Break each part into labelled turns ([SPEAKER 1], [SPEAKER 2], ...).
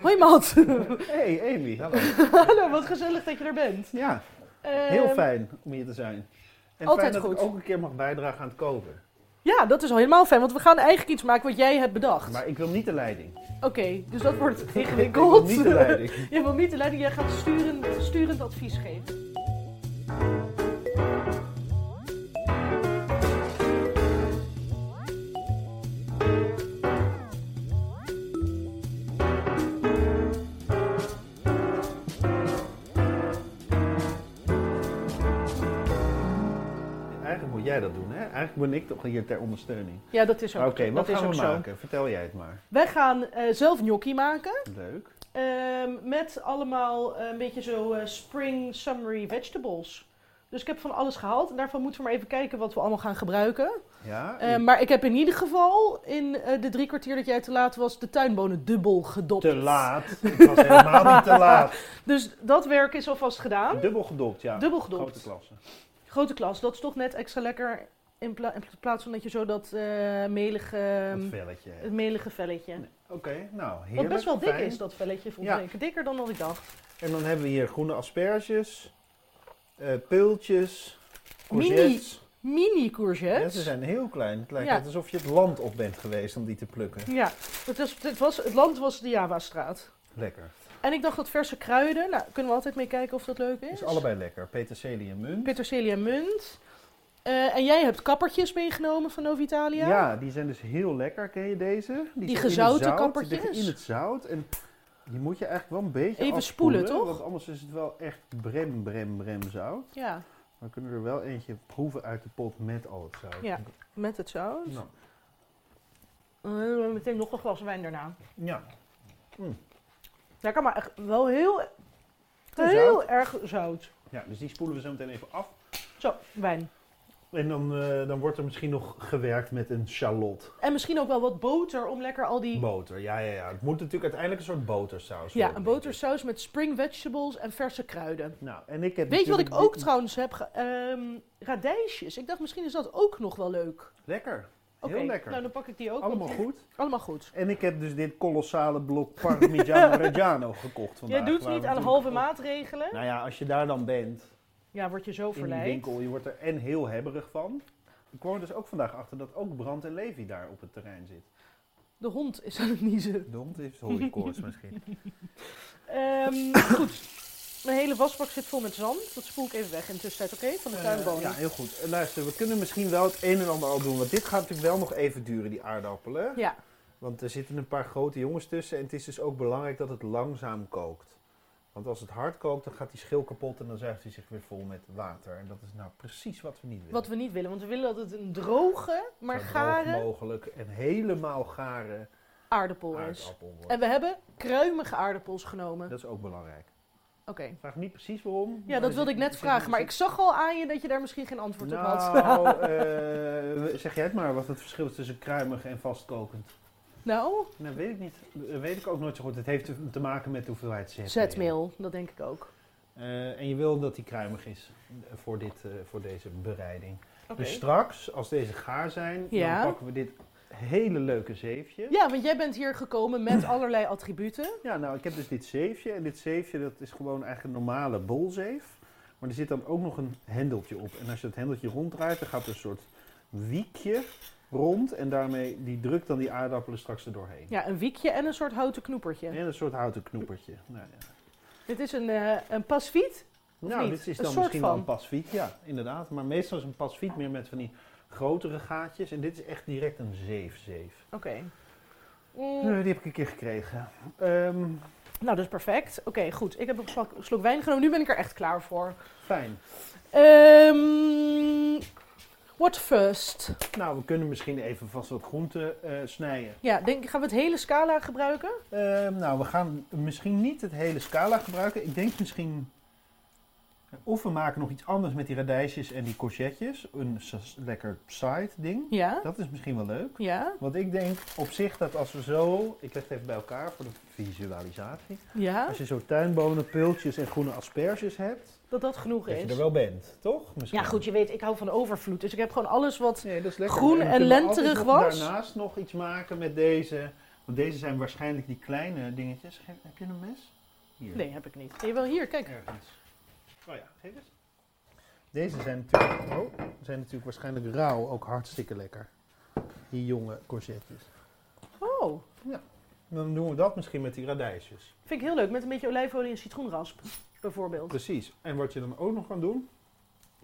[SPEAKER 1] Hoi Matt.
[SPEAKER 2] Hey Amy, hallo.
[SPEAKER 1] Hallo, wat gezellig dat je er bent.
[SPEAKER 2] Ja,
[SPEAKER 1] Ehm,
[SPEAKER 2] heel fijn om hier te zijn. En
[SPEAKER 1] altijd
[SPEAKER 2] fijn dat
[SPEAKER 1] goed.
[SPEAKER 2] ik ook een keer mag bijdragen aan het koken.
[SPEAKER 1] Ja, dat is al helemaal fijn, want we gaan eigenlijk iets maken wat jij hebt bedacht.
[SPEAKER 2] Maar ik wil niet de leiding.
[SPEAKER 1] Oké, dus dat wordt
[SPEAKER 2] Ik wil
[SPEAKER 1] ingewikkeld.
[SPEAKER 2] niet de leiding.
[SPEAKER 1] Jij wil niet de leiding, jij gaat sturend, sturend advies geven.
[SPEAKER 2] Eigenlijk moet jij dat doen, hè? Eigenlijk ben ik toch hier ter ondersteuning.
[SPEAKER 1] Ja, dat is ook
[SPEAKER 2] Oké,
[SPEAKER 1] zo.
[SPEAKER 2] wat
[SPEAKER 1] dat
[SPEAKER 2] gaan we
[SPEAKER 1] is ook zo.
[SPEAKER 2] maken? Vertel jij het maar.
[SPEAKER 1] Wij gaan eh, zelf gnocchi maken.
[SPEAKER 2] Leuk.
[SPEAKER 1] ehm, met allemaal eh, een beetje zo eh, spring summery vegetables. Dus ik heb van alles gehaald. En daarvan moeten we maar even kijken wat we allemaal gaan gebruiken.
[SPEAKER 2] Ah, Ja?
[SPEAKER 1] Eh, maar ik heb in ieder geval in eh, de drie kwartier dat jij te laat was, de tuinbonen dubbel gedopt.
[SPEAKER 2] te laat. Ik was helemaal niet te laat.
[SPEAKER 1] Dus dat werk is alvast gedaan.
[SPEAKER 2] Dubbel gedopt, ja.
[SPEAKER 1] Dubbel gedopt.
[SPEAKER 2] Grote klasse.
[SPEAKER 1] Grote klas, dat is toch net extra lekker in, pla- in plaats van dat je zo dat eh, melige,
[SPEAKER 2] Dat
[SPEAKER 1] ehm,
[SPEAKER 2] velletje.
[SPEAKER 1] het melige velletje.
[SPEAKER 2] Nee, Oké, nou heerlijk.
[SPEAKER 1] Wat best wel dik
[SPEAKER 2] fijn.
[SPEAKER 1] is, dat velletje, vond
[SPEAKER 2] Ja.
[SPEAKER 1] ik. Dikker dan wat ik dacht.
[SPEAKER 2] En dan hebben we hier groene asperges, eh peultjes,
[SPEAKER 1] Mini
[SPEAKER 2] courgettes.
[SPEAKER 1] Mini
[SPEAKER 2] Ja,
[SPEAKER 1] courgettes.
[SPEAKER 2] ze zijn heel klein. Het lijkt
[SPEAKER 1] Ja.
[SPEAKER 2] net alsof je het land op bent geweest om die te plukken.
[SPEAKER 1] Ja, het, was, het, was, het land was de Javastraat.
[SPEAKER 2] Lekker.
[SPEAKER 1] En ik dacht dat verse kruiden, nou kunnen we altijd mee kijken of dat leuk is.
[SPEAKER 2] Het is allebei lekker. Peterselie en munt.
[SPEAKER 1] Peterselie en munt. Eh, en jij hebt kappertjes meegenomen van Novitalia.
[SPEAKER 2] Ja, die zijn dus heel lekker. Ken je deze? Die, zitten in het
[SPEAKER 1] gezouten
[SPEAKER 2] zout,
[SPEAKER 1] kappertjes.
[SPEAKER 2] Die liggen in het zout. En die moet je eigenlijk wel een beetje
[SPEAKER 1] Even
[SPEAKER 2] afspoelen,
[SPEAKER 1] spoelen, toch?
[SPEAKER 2] Want anders is het wel echt brem, brem, brem zout.
[SPEAKER 1] Ja,
[SPEAKER 2] Maar we kunnen er wel eentje proeven uit de pot met al het zout.
[SPEAKER 1] Ja. met het zout.
[SPEAKER 2] Nou,
[SPEAKER 1] Eh, meteen nog een glas wijn daarna.
[SPEAKER 2] ja.
[SPEAKER 1] Lekker, maar echt wel heel,
[SPEAKER 2] Te
[SPEAKER 1] heel erg zout.
[SPEAKER 2] ja, dus die spoelen we zo meteen even af.
[SPEAKER 1] Zo, wijn.
[SPEAKER 2] En dan, eh, dan wordt er misschien nog gewerkt met een shallot
[SPEAKER 1] En misschien ook wel wat boter om lekker al die...
[SPEAKER 2] boter. Ja, ja, ja. Het moet natuurlijk uiteindelijk een soort botersaus
[SPEAKER 1] ja,
[SPEAKER 2] worden,
[SPEAKER 1] een
[SPEAKER 2] denk ik.
[SPEAKER 1] botersaus met spring vegetables en verse kruiden.
[SPEAKER 2] Nou, en ik heb
[SPEAKER 1] Weet je wat ik
[SPEAKER 2] natuurlijk
[SPEAKER 1] ook
[SPEAKER 2] dit-
[SPEAKER 1] trouwens heb? ge- ehm, radijsjes. Ik dacht misschien is dat ook nog wel leuk.
[SPEAKER 2] Lekker. Heel
[SPEAKER 1] Oké,
[SPEAKER 2] lekker.
[SPEAKER 1] nou dan pak ik die ook.
[SPEAKER 2] Allemaal
[SPEAKER 1] want-
[SPEAKER 2] goed.
[SPEAKER 1] Allemaal goed.
[SPEAKER 2] En ik heb dus dit kolossale blok Parmigiano Reggiano gekocht vandaag.
[SPEAKER 1] Jij doet
[SPEAKER 2] waar
[SPEAKER 1] niet
[SPEAKER 2] we
[SPEAKER 1] aan
[SPEAKER 2] natuurlijk
[SPEAKER 1] halve
[SPEAKER 2] ook-
[SPEAKER 1] maatregelen.
[SPEAKER 2] Nou ja, als je daar dan bent,
[SPEAKER 1] Ja, word je zo
[SPEAKER 2] in die
[SPEAKER 1] verleid.
[SPEAKER 2] winkel, je wordt er en heel hebberig van. Ik kwam er dus ook vandaag achter dat ook Brand en Levi daar op het terrein zit.
[SPEAKER 1] De hond is aan het niezen.
[SPEAKER 2] De hond heeft hooikoorts misschien.
[SPEAKER 1] Ehm, goed. Mijn hele wasbak zit vol met zand. Dat spoel ik even weg in de tussentijd, oké? Van de tuinbonen.
[SPEAKER 2] ja, heel goed. Eh, luister, we kunnen misschien wel het een en ander al doen. Want dit gaat natuurlijk wel nog even duren, die aardappelen.
[SPEAKER 1] Ja.
[SPEAKER 2] Want er zitten een paar grote jongens tussen. En het is dus ook belangrijk dat het langzaam kookt. Want als het hard kookt, dan gaat die schil kapot en dan zuigt hij zich weer vol met water. En dat is nou precies wat we niet willen.
[SPEAKER 1] Wat we niet willen, want we willen dat het een droge, maar
[SPEAKER 2] Zo droog
[SPEAKER 1] gare
[SPEAKER 2] mogelijk en helemaal gare
[SPEAKER 1] aardappel is.
[SPEAKER 2] aardappel wordt.
[SPEAKER 1] En we hebben kruimige aardappels genomen. Oké.
[SPEAKER 2] Dat is ook belangrijk. Ik vraag niet precies waarom.
[SPEAKER 1] Ja, dat wilde ik net vragen, maar ik zag al aan je dat je daar misschien geen antwoord op had.
[SPEAKER 2] Nou, eh, zeg jij het maar, wat het verschil is tussen kruimig en vastkokend.
[SPEAKER 1] Nou,
[SPEAKER 2] Nou, weet ik niet. Eh, Weet ik ook nooit zo goed. Het heeft te maken met de hoeveelheid zetmeel.
[SPEAKER 1] zetmeel, dat denk ik ook.
[SPEAKER 2] Eh, en je wil dat die kruimig is eh, voor, dit, eh, voor deze bereiding.
[SPEAKER 1] Oké.
[SPEAKER 2] Dus straks, als deze gaar zijn,
[SPEAKER 1] Ja.
[SPEAKER 2] dan pakken we dit hele leuke zeefje.
[SPEAKER 1] Ja, want jij bent hier gekomen met allerlei attributen.
[SPEAKER 2] Ja, nou, ik heb dus dit zeefje. En dit zeefje, dat is gewoon eigenlijk een normale bolzeef. Maar er zit dan ook nog een hendeltje op. En als je dat hendeltje ronddraait, dan gaat er een soort wiekje rond. En daarmee, die drukt dan die aardappelen straks er doorheen.
[SPEAKER 1] Ja, een wiekje en een soort houten knoepertje.
[SPEAKER 2] En een soort houten knoepertje. Nou, ja.
[SPEAKER 1] Dit is een, eh een pasfiet.
[SPEAKER 2] nou
[SPEAKER 1] niet?
[SPEAKER 2] dit is
[SPEAKER 1] Een
[SPEAKER 2] dan
[SPEAKER 1] soort
[SPEAKER 2] misschien wel
[SPEAKER 1] van.
[SPEAKER 2] een pasfiet. Ja, inderdaad. Maar meestal is een pasfiet meer met van die grotere gaatjes. En dit is echt direct een zeef-zeef.
[SPEAKER 1] Oké. Mm,
[SPEAKER 2] Eh, die heb ik een keer gekregen. Ehm,
[SPEAKER 1] Nou, dat is perfect. Oké, goed. Ik heb een slok, slok wijn genomen. Nu ben ik er echt klaar voor.
[SPEAKER 2] fijn.
[SPEAKER 1] Ehm what first?
[SPEAKER 2] Nou, we kunnen misschien even vast wat groenten eh, snijden.
[SPEAKER 1] Ja, denk, gaan we het hele scala gebruiken?
[SPEAKER 2] Ehm, nou, we gaan misschien niet het hele scala gebruiken. Ik denk misschien. Of we maken nog iets anders met die radijsjes en die courgettes. Een s- lekker side ding.
[SPEAKER 1] Ja.
[SPEAKER 2] Dat is misschien wel leuk.
[SPEAKER 1] Ja.
[SPEAKER 2] Want ik denk op zich dat als we zo. Ik leg het even bij elkaar voor de visualisatie.
[SPEAKER 1] Ja.
[SPEAKER 2] Als je zo tuinbonen, pultjes en groene asperges hebt.
[SPEAKER 1] Dat dat genoeg
[SPEAKER 2] Dat je er
[SPEAKER 1] is.
[SPEAKER 2] wel bent, toch? Misschien.
[SPEAKER 1] Ja, goed. Je weet, ik hou van overvloed. Dus ik heb gewoon alles wat...
[SPEAKER 2] Nee, dat is lekker.
[SPEAKER 1] Groen
[SPEAKER 2] we
[SPEAKER 1] en
[SPEAKER 2] kunnen
[SPEAKER 1] lenterig
[SPEAKER 2] altijd nog
[SPEAKER 1] was.
[SPEAKER 2] Daarnaast nog iets maken met deze. Want deze zijn waarschijnlijk die kleine dingetjes. Geef- heb je een mes? Hier.
[SPEAKER 1] Nee, heb ik niet. Nee, wel hier, kijk.
[SPEAKER 2] Ergens. Oh ja, geef eens. Deze zijn natuurlijk, oh, zijn natuurlijk waarschijnlijk rauw ook hartstikke lekker. Die jonge courgettes.
[SPEAKER 1] Oh,
[SPEAKER 2] Dan doen we dat misschien met die radijsjes.
[SPEAKER 1] vind ik heel leuk. Met een beetje olijfolie en citroenrasp, bijvoorbeeld.
[SPEAKER 2] Precies. En wat je dan ook nog kan doen,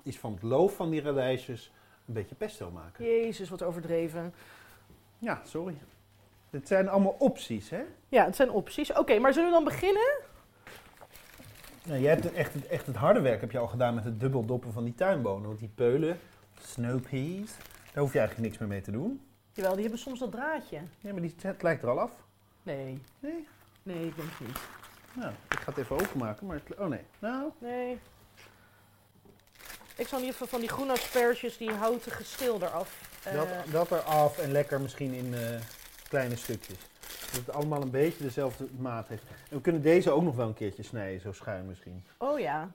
[SPEAKER 2] is van het loof van die radijsjes een beetje pesto maken.
[SPEAKER 1] Jezus, wat overdreven.
[SPEAKER 2] Ja, sorry. Dit zijn allemaal opties, hè?
[SPEAKER 1] Ja, het zijn opties. Oké, maar zullen we dan beginnen?
[SPEAKER 2] Nou, jij hebt het echt, het- echt het harde werk heb je al gedaan met het dubbeldoppen van die tuinbonen. Want die peulen, snow peas, daar hoef je eigenlijk niks meer mee te doen.
[SPEAKER 1] Jawel, die hebben soms dat draadje.
[SPEAKER 2] Nee, maar die, het lijkt er al af.
[SPEAKER 1] Nee.
[SPEAKER 2] Nee?
[SPEAKER 1] Nee, ik denk het niet.
[SPEAKER 2] Nou, ik ga het even openmaken, maar... het- oh nee. Nou,
[SPEAKER 1] Nee. Ik zal in ieder geval van die groene asperges die houten geschil eraf. eh,
[SPEAKER 2] dat, dat eraf en lekker misschien in eh, kleine stukjes. Dat het allemaal een beetje dezelfde maat heeft. En we kunnen deze ook nog wel een keertje snijden, zo schuin misschien.
[SPEAKER 1] Oh ja.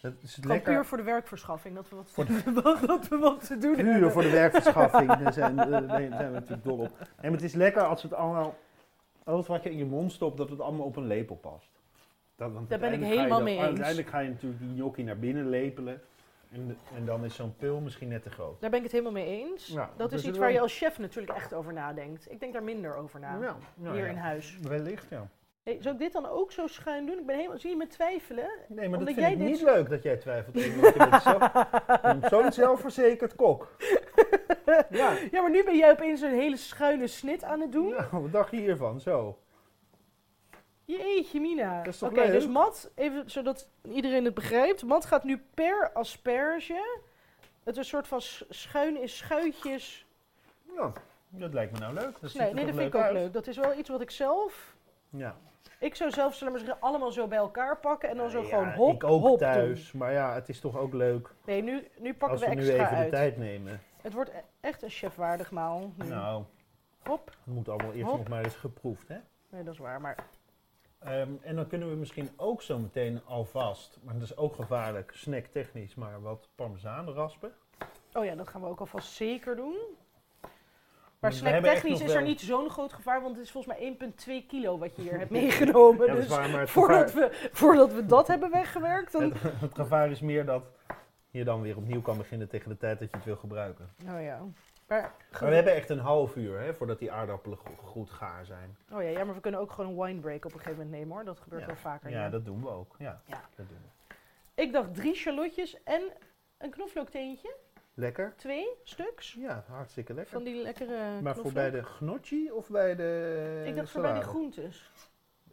[SPEAKER 2] Dat is het
[SPEAKER 1] Gewoon puur
[SPEAKER 2] lekker...
[SPEAKER 1] voor de werkverschaffing. Dat we wat,
[SPEAKER 2] Voor
[SPEAKER 1] dat we wat te doen
[SPEAKER 2] Puur voor de werkverschaffing, daar zijn, eh, daar zijn we natuurlijk dol op. Nee, maar het is lekker als het allemaal, alles wat je in je mond stopt, dat het allemaal op een lepel past. Dat, want
[SPEAKER 1] Daar ben ik
[SPEAKER 2] uiteindelijk ga je
[SPEAKER 1] helemaal
[SPEAKER 2] dat-
[SPEAKER 1] mee eens.
[SPEAKER 2] Uiteindelijk ga je natuurlijk die gnocchi naar binnen lepelen en, en dan is zo'n pil misschien net te groot.
[SPEAKER 1] Daar ben ik het helemaal mee eens.
[SPEAKER 2] Ja,
[SPEAKER 1] dat
[SPEAKER 2] dus
[SPEAKER 1] is iets
[SPEAKER 2] het
[SPEAKER 1] waar
[SPEAKER 2] wel-
[SPEAKER 1] je als chef natuurlijk echt over nadenkt. Ik denk daar minder over na.
[SPEAKER 2] Ja, nou
[SPEAKER 1] hier
[SPEAKER 2] ja.
[SPEAKER 1] in huis.
[SPEAKER 2] Wellicht, ja.
[SPEAKER 1] Hey, zou ik dit dan ook zo schuin doen? Ik ben helemaal, zie je me twijfelen?
[SPEAKER 2] Nee,
[SPEAKER 1] Omdat
[SPEAKER 2] maar dat vind
[SPEAKER 1] jij
[SPEAKER 2] ik
[SPEAKER 1] dit
[SPEAKER 2] niet leuk dat jij twijfelt. over wat je bent. Zo- je bent Zo'n zelfverzekerd kok. Ja.
[SPEAKER 1] Ja, maar nu ben jij opeens een hele schuine snit aan het doen.
[SPEAKER 2] Nou, wat dacht je hiervan? Zo.
[SPEAKER 1] Jeetje mina.
[SPEAKER 2] Dat is
[SPEAKER 1] Oké,
[SPEAKER 2] toch leuk?
[SPEAKER 1] dus Mat, even zodat iedereen het begrijpt. Mat gaat nu per asperge het een soort van s- schuin in schuitjes.
[SPEAKER 2] Ja, dat lijkt me nou leuk. Dat ziet
[SPEAKER 1] Nee,
[SPEAKER 2] er
[SPEAKER 1] nee,
[SPEAKER 2] toch
[SPEAKER 1] dat vind ik ook
[SPEAKER 2] uit?
[SPEAKER 1] leuk. Dat is wel iets wat ik zelf...
[SPEAKER 2] Ja.
[SPEAKER 1] Ik zou zelf, zullen we zeggen, allemaal zo bij elkaar pakken en dan zo
[SPEAKER 2] Ja,
[SPEAKER 1] gewoon hop,
[SPEAKER 2] Ik ook
[SPEAKER 1] hop doen.
[SPEAKER 2] thuis, maar ja, het is toch ook leuk
[SPEAKER 1] Nee, nu, nu pakken
[SPEAKER 2] als we,
[SPEAKER 1] we
[SPEAKER 2] nu
[SPEAKER 1] extra
[SPEAKER 2] even
[SPEAKER 1] uit.
[SPEAKER 2] de tijd nemen.
[SPEAKER 1] Het wordt e- echt een chefwaardig maal. Nu.
[SPEAKER 2] Nou,
[SPEAKER 1] Hop.
[SPEAKER 2] het moet allemaal eerst
[SPEAKER 1] Hop.
[SPEAKER 2] nog maar eens geproefd, hè?
[SPEAKER 1] Nee, dat is waar. Maar
[SPEAKER 2] Ehm, en dan kunnen we misschien ook zo meteen alvast, maar dat is ook gevaarlijk, snacktechnisch, maar wat parmezaan raspen.
[SPEAKER 1] Oh ja, dat gaan we ook alvast zeker doen. Maar
[SPEAKER 2] Want we hebben echt
[SPEAKER 1] snacktechnisch
[SPEAKER 2] nog
[SPEAKER 1] is er
[SPEAKER 2] wel-
[SPEAKER 1] niet zo'n groot gevaar, want het is volgens mij 1,2 kilo wat je hier hebt meegenomen.
[SPEAKER 2] Ja, dat is
[SPEAKER 1] dus
[SPEAKER 2] waar, maar het gevaar,
[SPEAKER 1] voordat, we, voordat we dat hebben weggewerkt, dan...
[SPEAKER 2] het, het gevaar is meer dat je dan weer opnieuw kan beginnen tegen de tijd dat je het wil gebruiken.
[SPEAKER 1] Nou ja. Maar,
[SPEAKER 2] Maar we hebben echt een half uur hè, voordat die aardappelen go- goed gaar zijn.
[SPEAKER 1] Oh ja, ja, maar we kunnen ook gewoon een winebreak op een gegeven moment nemen hoor. Dat gebeurt
[SPEAKER 2] Ja.
[SPEAKER 1] wel vaker.
[SPEAKER 2] Ja,
[SPEAKER 1] Oh ja.
[SPEAKER 2] dat doen we ook. Ja,
[SPEAKER 1] Ja.
[SPEAKER 2] Dat doen we.
[SPEAKER 1] Ik dacht drie charlotjes en een knoflookteentje.
[SPEAKER 2] Lekker?
[SPEAKER 1] Twee stuks
[SPEAKER 2] Ja, hartstikke lekker.
[SPEAKER 1] van die lekkere
[SPEAKER 2] Maar
[SPEAKER 1] knoflook.
[SPEAKER 2] voor bij de gnocchi of bij de eh,
[SPEAKER 1] Ik dacht voor bij
[SPEAKER 2] salade?
[SPEAKER 1] de groentes.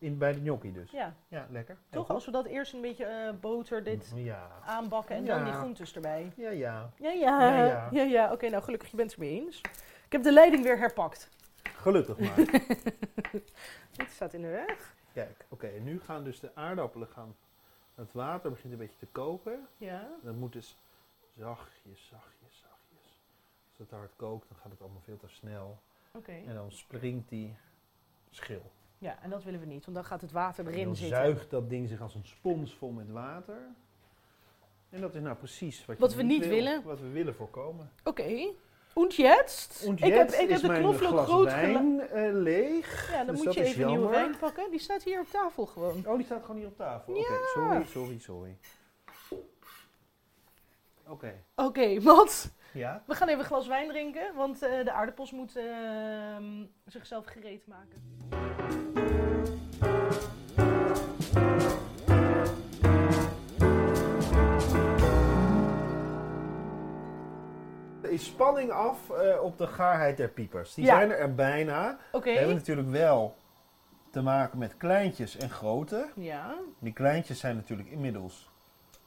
[SPEAKER 2] In, bij de gnocchi dus.
[SPEAKER 1] Ja,
[SPEAKER 2] Ja, lekker. Heel
[SPEAKER 1] toch?
[SPEAKER 2] goed.
[SPEAKER 1] Als we dat eerst een beetje eh, boter dit
[SPEAKER 2] Ja.
[SPEAKER 1] aanbakken en
[SPEAKER 2] Ja.
[SPEAKER 1] dan die groentes erbij.
[SPEAKER 2] Ja, ja.
[SPEAKER 1] Ja, ja.
[SPEAKER 2] Ja,
[SPEAKER 1] Ja,
[SPEAKER 2] ja.
[SPEAKER 1] ja. Oké, nou gelukkig, je bent het mee eens. Ik heb de leiding weer herpakt.
[SPEAKER 2] Gelukkig maar.
[SPEAKER 1] Dit staat in de weg.
[SPEAKER 2] Kijk, oké. nu gaan dus de aardappelen gaan... Het water begint een beetje te koken.
[SPEAKER 1] Ja.
[SPEAKER 2] Dat moet dus zachtjes, zachtjes, zachtjes. Als het hard kookt, dan gaat het allemaal veel te snel.
[SPEAKER 1] Oké.
[SPEAKER 2] En dan springt die schil.
[SPEAKER 1] Ja, en dat willen we niet, want dan gaat het water
[SPEAKER 2] En
[SPEAKER 1] erin
[SPEAKER 2] dan
[SPEAKER 1] zitten.
[SPEAKER 2] zuigt dat ding zich als een spons vol met water. En dat is nou precies wat, je
[SPEAKER 1] Wat we niet
[SPEAKER 2] wil,
[SPEAKER 1] willen.
[SPEAKER 2] Wat we willen voorkomen.
[SPEAKER 1] Oké. Und jetzt?
[SPEAKER 2] Und
[SPEAKER 1] ik heb,
[SPEAKER 2] jetzt
[SPEAKER 1] ik
[SPEAKER 2] is
[SPEAKER 1] heb de
[SPEAKER 2] mijn
[SPEAKER 1] knoflook
[SPEAKER 2] glas
[SPEAKER 1] groot gela-
[SPEAKER 2] wijn eh, leeg.
[SPEAKER 1] Ja, dan
[SPEAKER 2] dus
[SPEAKER 1] moet
[SPEAKER 2] dat
[SPEAKER 1] je
[SPEAKER 2] is
[SPEAKER 1] even een nieuwe
[SPEAKER 2] jammer.
[SPEAKER 1] wijn pakken. Die staat hier op tafel gewoon.
[SPEAKER 2] Oh, die staat gewoon hier op tafel. Oké,
[SPEAKER 1] Ja.
[SPEAKER 2] sorry, sorry, sorry. Oké.
[SPEAKER 1] Oké, Mats.
[SPEAKER 2] Ja?
[SPEAKER 1] We gaan even een glas wijn drinken, want eh, de aardappels moeten ehm, zichzelf gereed maken.
[SPEAKER 2] Er is spanning af eh, op de gaarheid der piepers. Die
[SPEAKER 1] Ja.
[SPEAKER 2] zijn er bijna.
[SPEAKER 1] Oké.
[SPEAKER 2] We hebben natuurlijk wel te maken met kleintjes en grote.
[SPEAKER 1] Ja.
[SPEAKER 2] Die kleintjes zijn natuurlijk inmiddels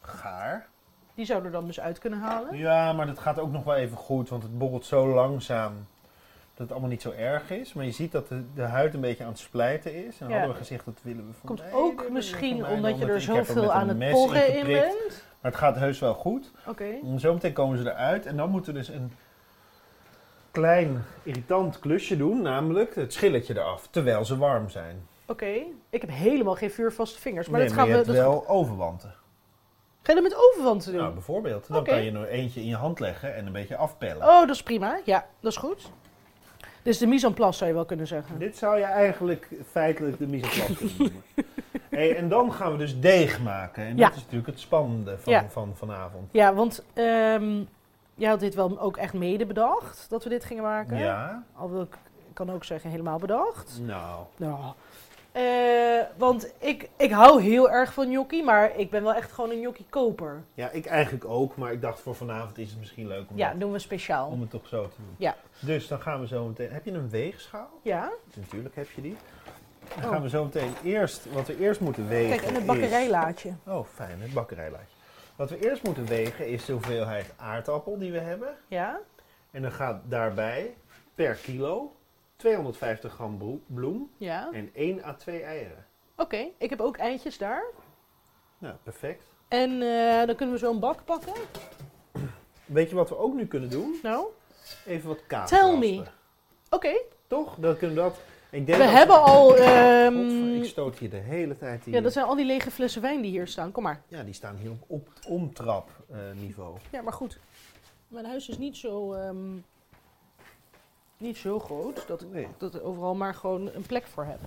[SPEAKER 2] gaar.
[SPEAKER 1] Die zouden er dan dus uit kunnen halen.
[SPEAKER 2] Ja, maar dat gaat ook nog wel even goed, want het borrelt zo langzaam dat het allemaal niet zo erg is. Maar je ziet dat de, de huid een beetje aan het splijten is. En dan
[SPEAKER 1] Ja.
[SPEAKER 2] hadden we gezegd, dat willen we
[SPEAKER 1] Komt
[SPEAKER 2] vermijden,
[SPEAKER 1] ook
[SPEAKER 2] willen we
[SPEAKER 1] misschien
[SPEAKER 2] vermijden,
[SPEAKER 1] omdat je er
[SPEAKER 2] ik heb met
[SPEAKER 1] zoveel
[SPEAKER 2] een
[SPEAKER 1] aan het
[SPEAKER 2] mes
[SPEAKER 1] porren in
[SPEAKER 2] ingeprikt.
[SPEAKER 1] bent.
[SPEAKER 2] Maar het gaat heus wel goed.
[SPEAKER 1] Oké.
[SPEAKER 2] En Zometeen komen ze eruit en dan moeten we dus een klein irritant klusje doen, namelijk het schilletje eraf, terwijl ze warm zijn.
[SPEAKER 1] Oké. Ik heb helemaal geen vuurvaste vingers, maar
[SPEAKER 2] nee,
[SPEAKER 1] dat
[SPEAKER 2] maar
[SPEAKER 1] gaan
[SPEAKER 2] je
[SPEAKER 1] we...
[SPEAKER 2] hebt
[SPEAKER 1] Dat
[SPEAKER 2] wel overwanten.
[SPEAKER 1] Ga je dat met overwand doen?
[SPEAKER 2] Nou, bijvoorbeeld. Dan
[SPEAKER 1] Oké.
[SPEAKER 2] kan je er eentje in je hand leggen en een beetje afpellen.
[SPEAKER 1] oh, dat is prima. Ja, dat is goed. Dus de mise en place zou je wel kunnen zeggen.
[SPEAKER 2] Dit zou je eigenlijk feitelijk de mise en place kunnen noemen. Hey, en dan gaan we dus deeg maken. En
[SPEAKER 1] Ja.
[SPEAKER 2] dat is natuurlijk het spannende van,
[SPEAKER 1] Ja.
[SPEAKER 2] van vanavond.
[SPEAKER 1] Ja, want ehm jij had dit wel ook echt mede bedacht, dat we dit gingen maken.
[SPEAKER 2] Ja,
[SPEAKER 1] Al wil ik, ik kan ook zeggen, helemaal bedacht.
[SPEAKER 2] nou.
[SPEAKER 1] Nou. Eh, want ik, ik hou heel erg van gnocchi, maar ik ben wel echt gewoon een gnocchi-koper.
[SPEAKER 2] Ja, ik eigenlijk ook, maar ik dacht voor vanavond is het misschien leuk om,
[SPEAKER 1] Ja,
[SPEAKER 2] dat-
[SPEAKER 1] doen we speciaal.
[SPEAKER 2] om het toch zo te doen.
[SPEAKER 1] Ja.
[SPEAKER 2] Dus dan gaan we zo meteen. Heb je een weegschaal?
[SPEAKER 1] Ja,
[SPEAKER 2] Natuurlijk heb je die. Dan
[SPEAKER 1] Oh.
[SPEAKER 2] gaan we zo meteen eerst. Wat we eerst moeten wegen.
[SPEAKER 1] kijk, en het
[SPEAKER 2] is-
[SPEAKER 1] bakkerijlaadje.
[SPEAKER 2] Oh, fijn, het bakkerijlaadje. Wat we eerst moeten wegen is de hoeveelheid aardappel die we hebben.
[SPEAKER 1] Ja,
[SPEAKER 2] En dan gaat daarbij per kilo 250 gram broe- bloem
[SPEAKER 1] ja. Oké,
[SPEAKER 2] en 1 à 2 eieren.
[SPEAKER 1] ik heb ook eindjes daar.
[SPEAKER 2] Nou, perfect.
[SPEAKER 1] En eh, dan kunnen we zo'n bak pakken.
[SPEAKER 2] Weet je wat we ook nu kunnen doen?
[SPEAKER 1] Nou, oké.
[SPEAKER 2] Even wat kaas.
[SPEAKER 1] Tell me.
[SPEAKER 2] raspen. Toch? Dan kunnen we dat. Ik denk
[SPEAKER 1] We
[SPEAKER 2] dat-
[SPEAKER 1] hebben al... ehm,
[SPEAKER 2] Godver, ik stoot hier de hele tijd die.
[SPEAKER 1] ja, dat zijn al die lege flessen wijn die hier staan. Kom maar.
[SPEAKER 2] Ja, die staan hier op, op omtrap eh, niveau.
[SPEAKER 1] Ja, maar goed. Mijn huis is niet zo... ehm, niet zo groot dat ik
[SPEAKER 2] Nee,
[SPEAKER 1] dat ik overal maar gewoon een plek voor heb.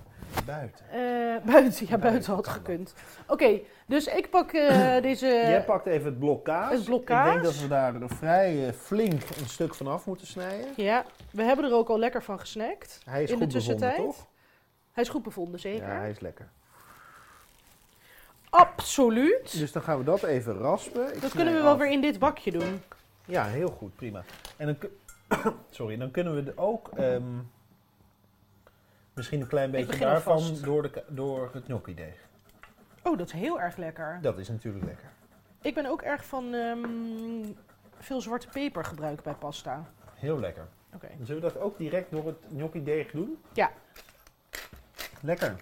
[SPEAKER 2] buiten.
[SPEAKER 1] Eh, buiten, ja, buiten
[SPEAKER 2] Buiten
[SPEAKER 1] had
[SPEAKER 2] kan
[SPEAKER 1] gekund. Oké, dus ik pak eh, deze...
[SPEAKER 2] Jij pakt even het blok kaas.
[SPEAKER 1] het blok
[SPEAKER 2] Ik
[SPEAKER 1] kaas.
[SPEAKER 2] denk dat we daar een vrij eh, flink een stuk van af moeten snijden.
[SPEAKER 1] Ja, we hebben er ook al lekker van gesnackt.
[SPEAKER 2] Hij is
[SPEAKER 1] In de
[SPEAKER 2] goed bevonden,
[SPEAKER 1] tussentijd?
[SPEAKER 2] toch?
[SPEAKER 1] Hij is goed bevonden, zeker?
[SPEAKER 2] Ja, hij is lekker.
[SPEAKER 1] Absoluut.
[SPEAKER 2] Dus dan gaan we dat even raspen. Ik
[SPEAKER 1] dat
[SPEAKER 2] snij
[SPEAKER 1] kunnen we wel
[SPEAKER 2] af.
[SPEAKER 1] weer in dit bakje doen.
[SPEAKER 2] Ja, heel goed, prima. En dan, kun- sorry, dan kunnen we er ook ehm, misschien een klein beetje
[SPEAKER 1] begin
[SPEAKER 2] daarvan
[SPEAKER 1] alvast.
[SPEAKER 2] door, de, ka- door het gnocchi-deeg.
[SPEAKER 1] Oh, dat is heel erg lekker.
[SPEAKER 2] Dat is natuurlijk lekker.
[SPEAKER 1] Ik ben ook erg van ehm, veel zwarte peper gebruiken bij pasta.
[SPEAKER 2] Heel lekker.
[SPEAKER 1] Oké.
[SPEAKER 2] Zullen we dat ook direct door het gnocchi-deeg doen?
[SPEAKER 1] Ja.
[SPEAKER 2] Lekker.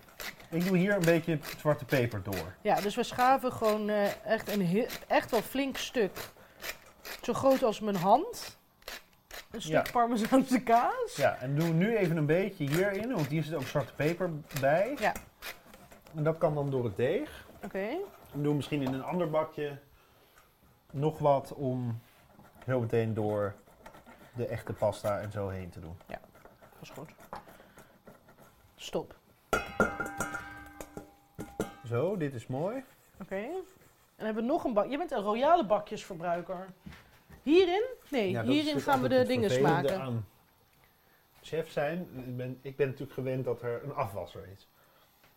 [SPEAKER 2] Ik doe hier een beetje zwarte peper door.
[SPEAKER 1] Ja, dus we schaven gewoon eh, echt een heel, echt wel flink stuk. Zo groot als mijn hand. Een stuk
[SPEAKER 2] Ja.
[SPEAKER 1] parmezaanse kaas.
[SPEAKER 2] Ja, en doe nu even een beetje hierin, want hier zit ook zwarte peper bij.
[SPEAKER 1] Ja.
[SPEAKER 2] En dat kan dan door het deeg.
[SPEAKER 1] Oké.
[SPEAKER 2] En doe misschien in een ander bakje nog wat om zo meteen door de echte pasta en zo heen te doen.
[SPEAKER 1] Dat is goed. Stop.
[SPEAKER 2] Zo, dit is mooi.
[SPEAKER 1] Oké. En hebben we nog een bak. Je bent een royale bakjesverbruiker. Hierin? Nee,
[SPEAKER 2] Ja, dat is
[SPEAKER 1] hierin
[SPEAKER 2] natuurlijk
[SPEAKER 1] gaan we de
[SPEAKER 2] altijd het
[SPEAKER 1] dingen
[SPEAKER 2] vervelende
[SPEAKER 1] smaken.
[SPEAKER 2] aan chef zijn. Ik ben, ik ben natuurlijk gewend dat er een afwasser is.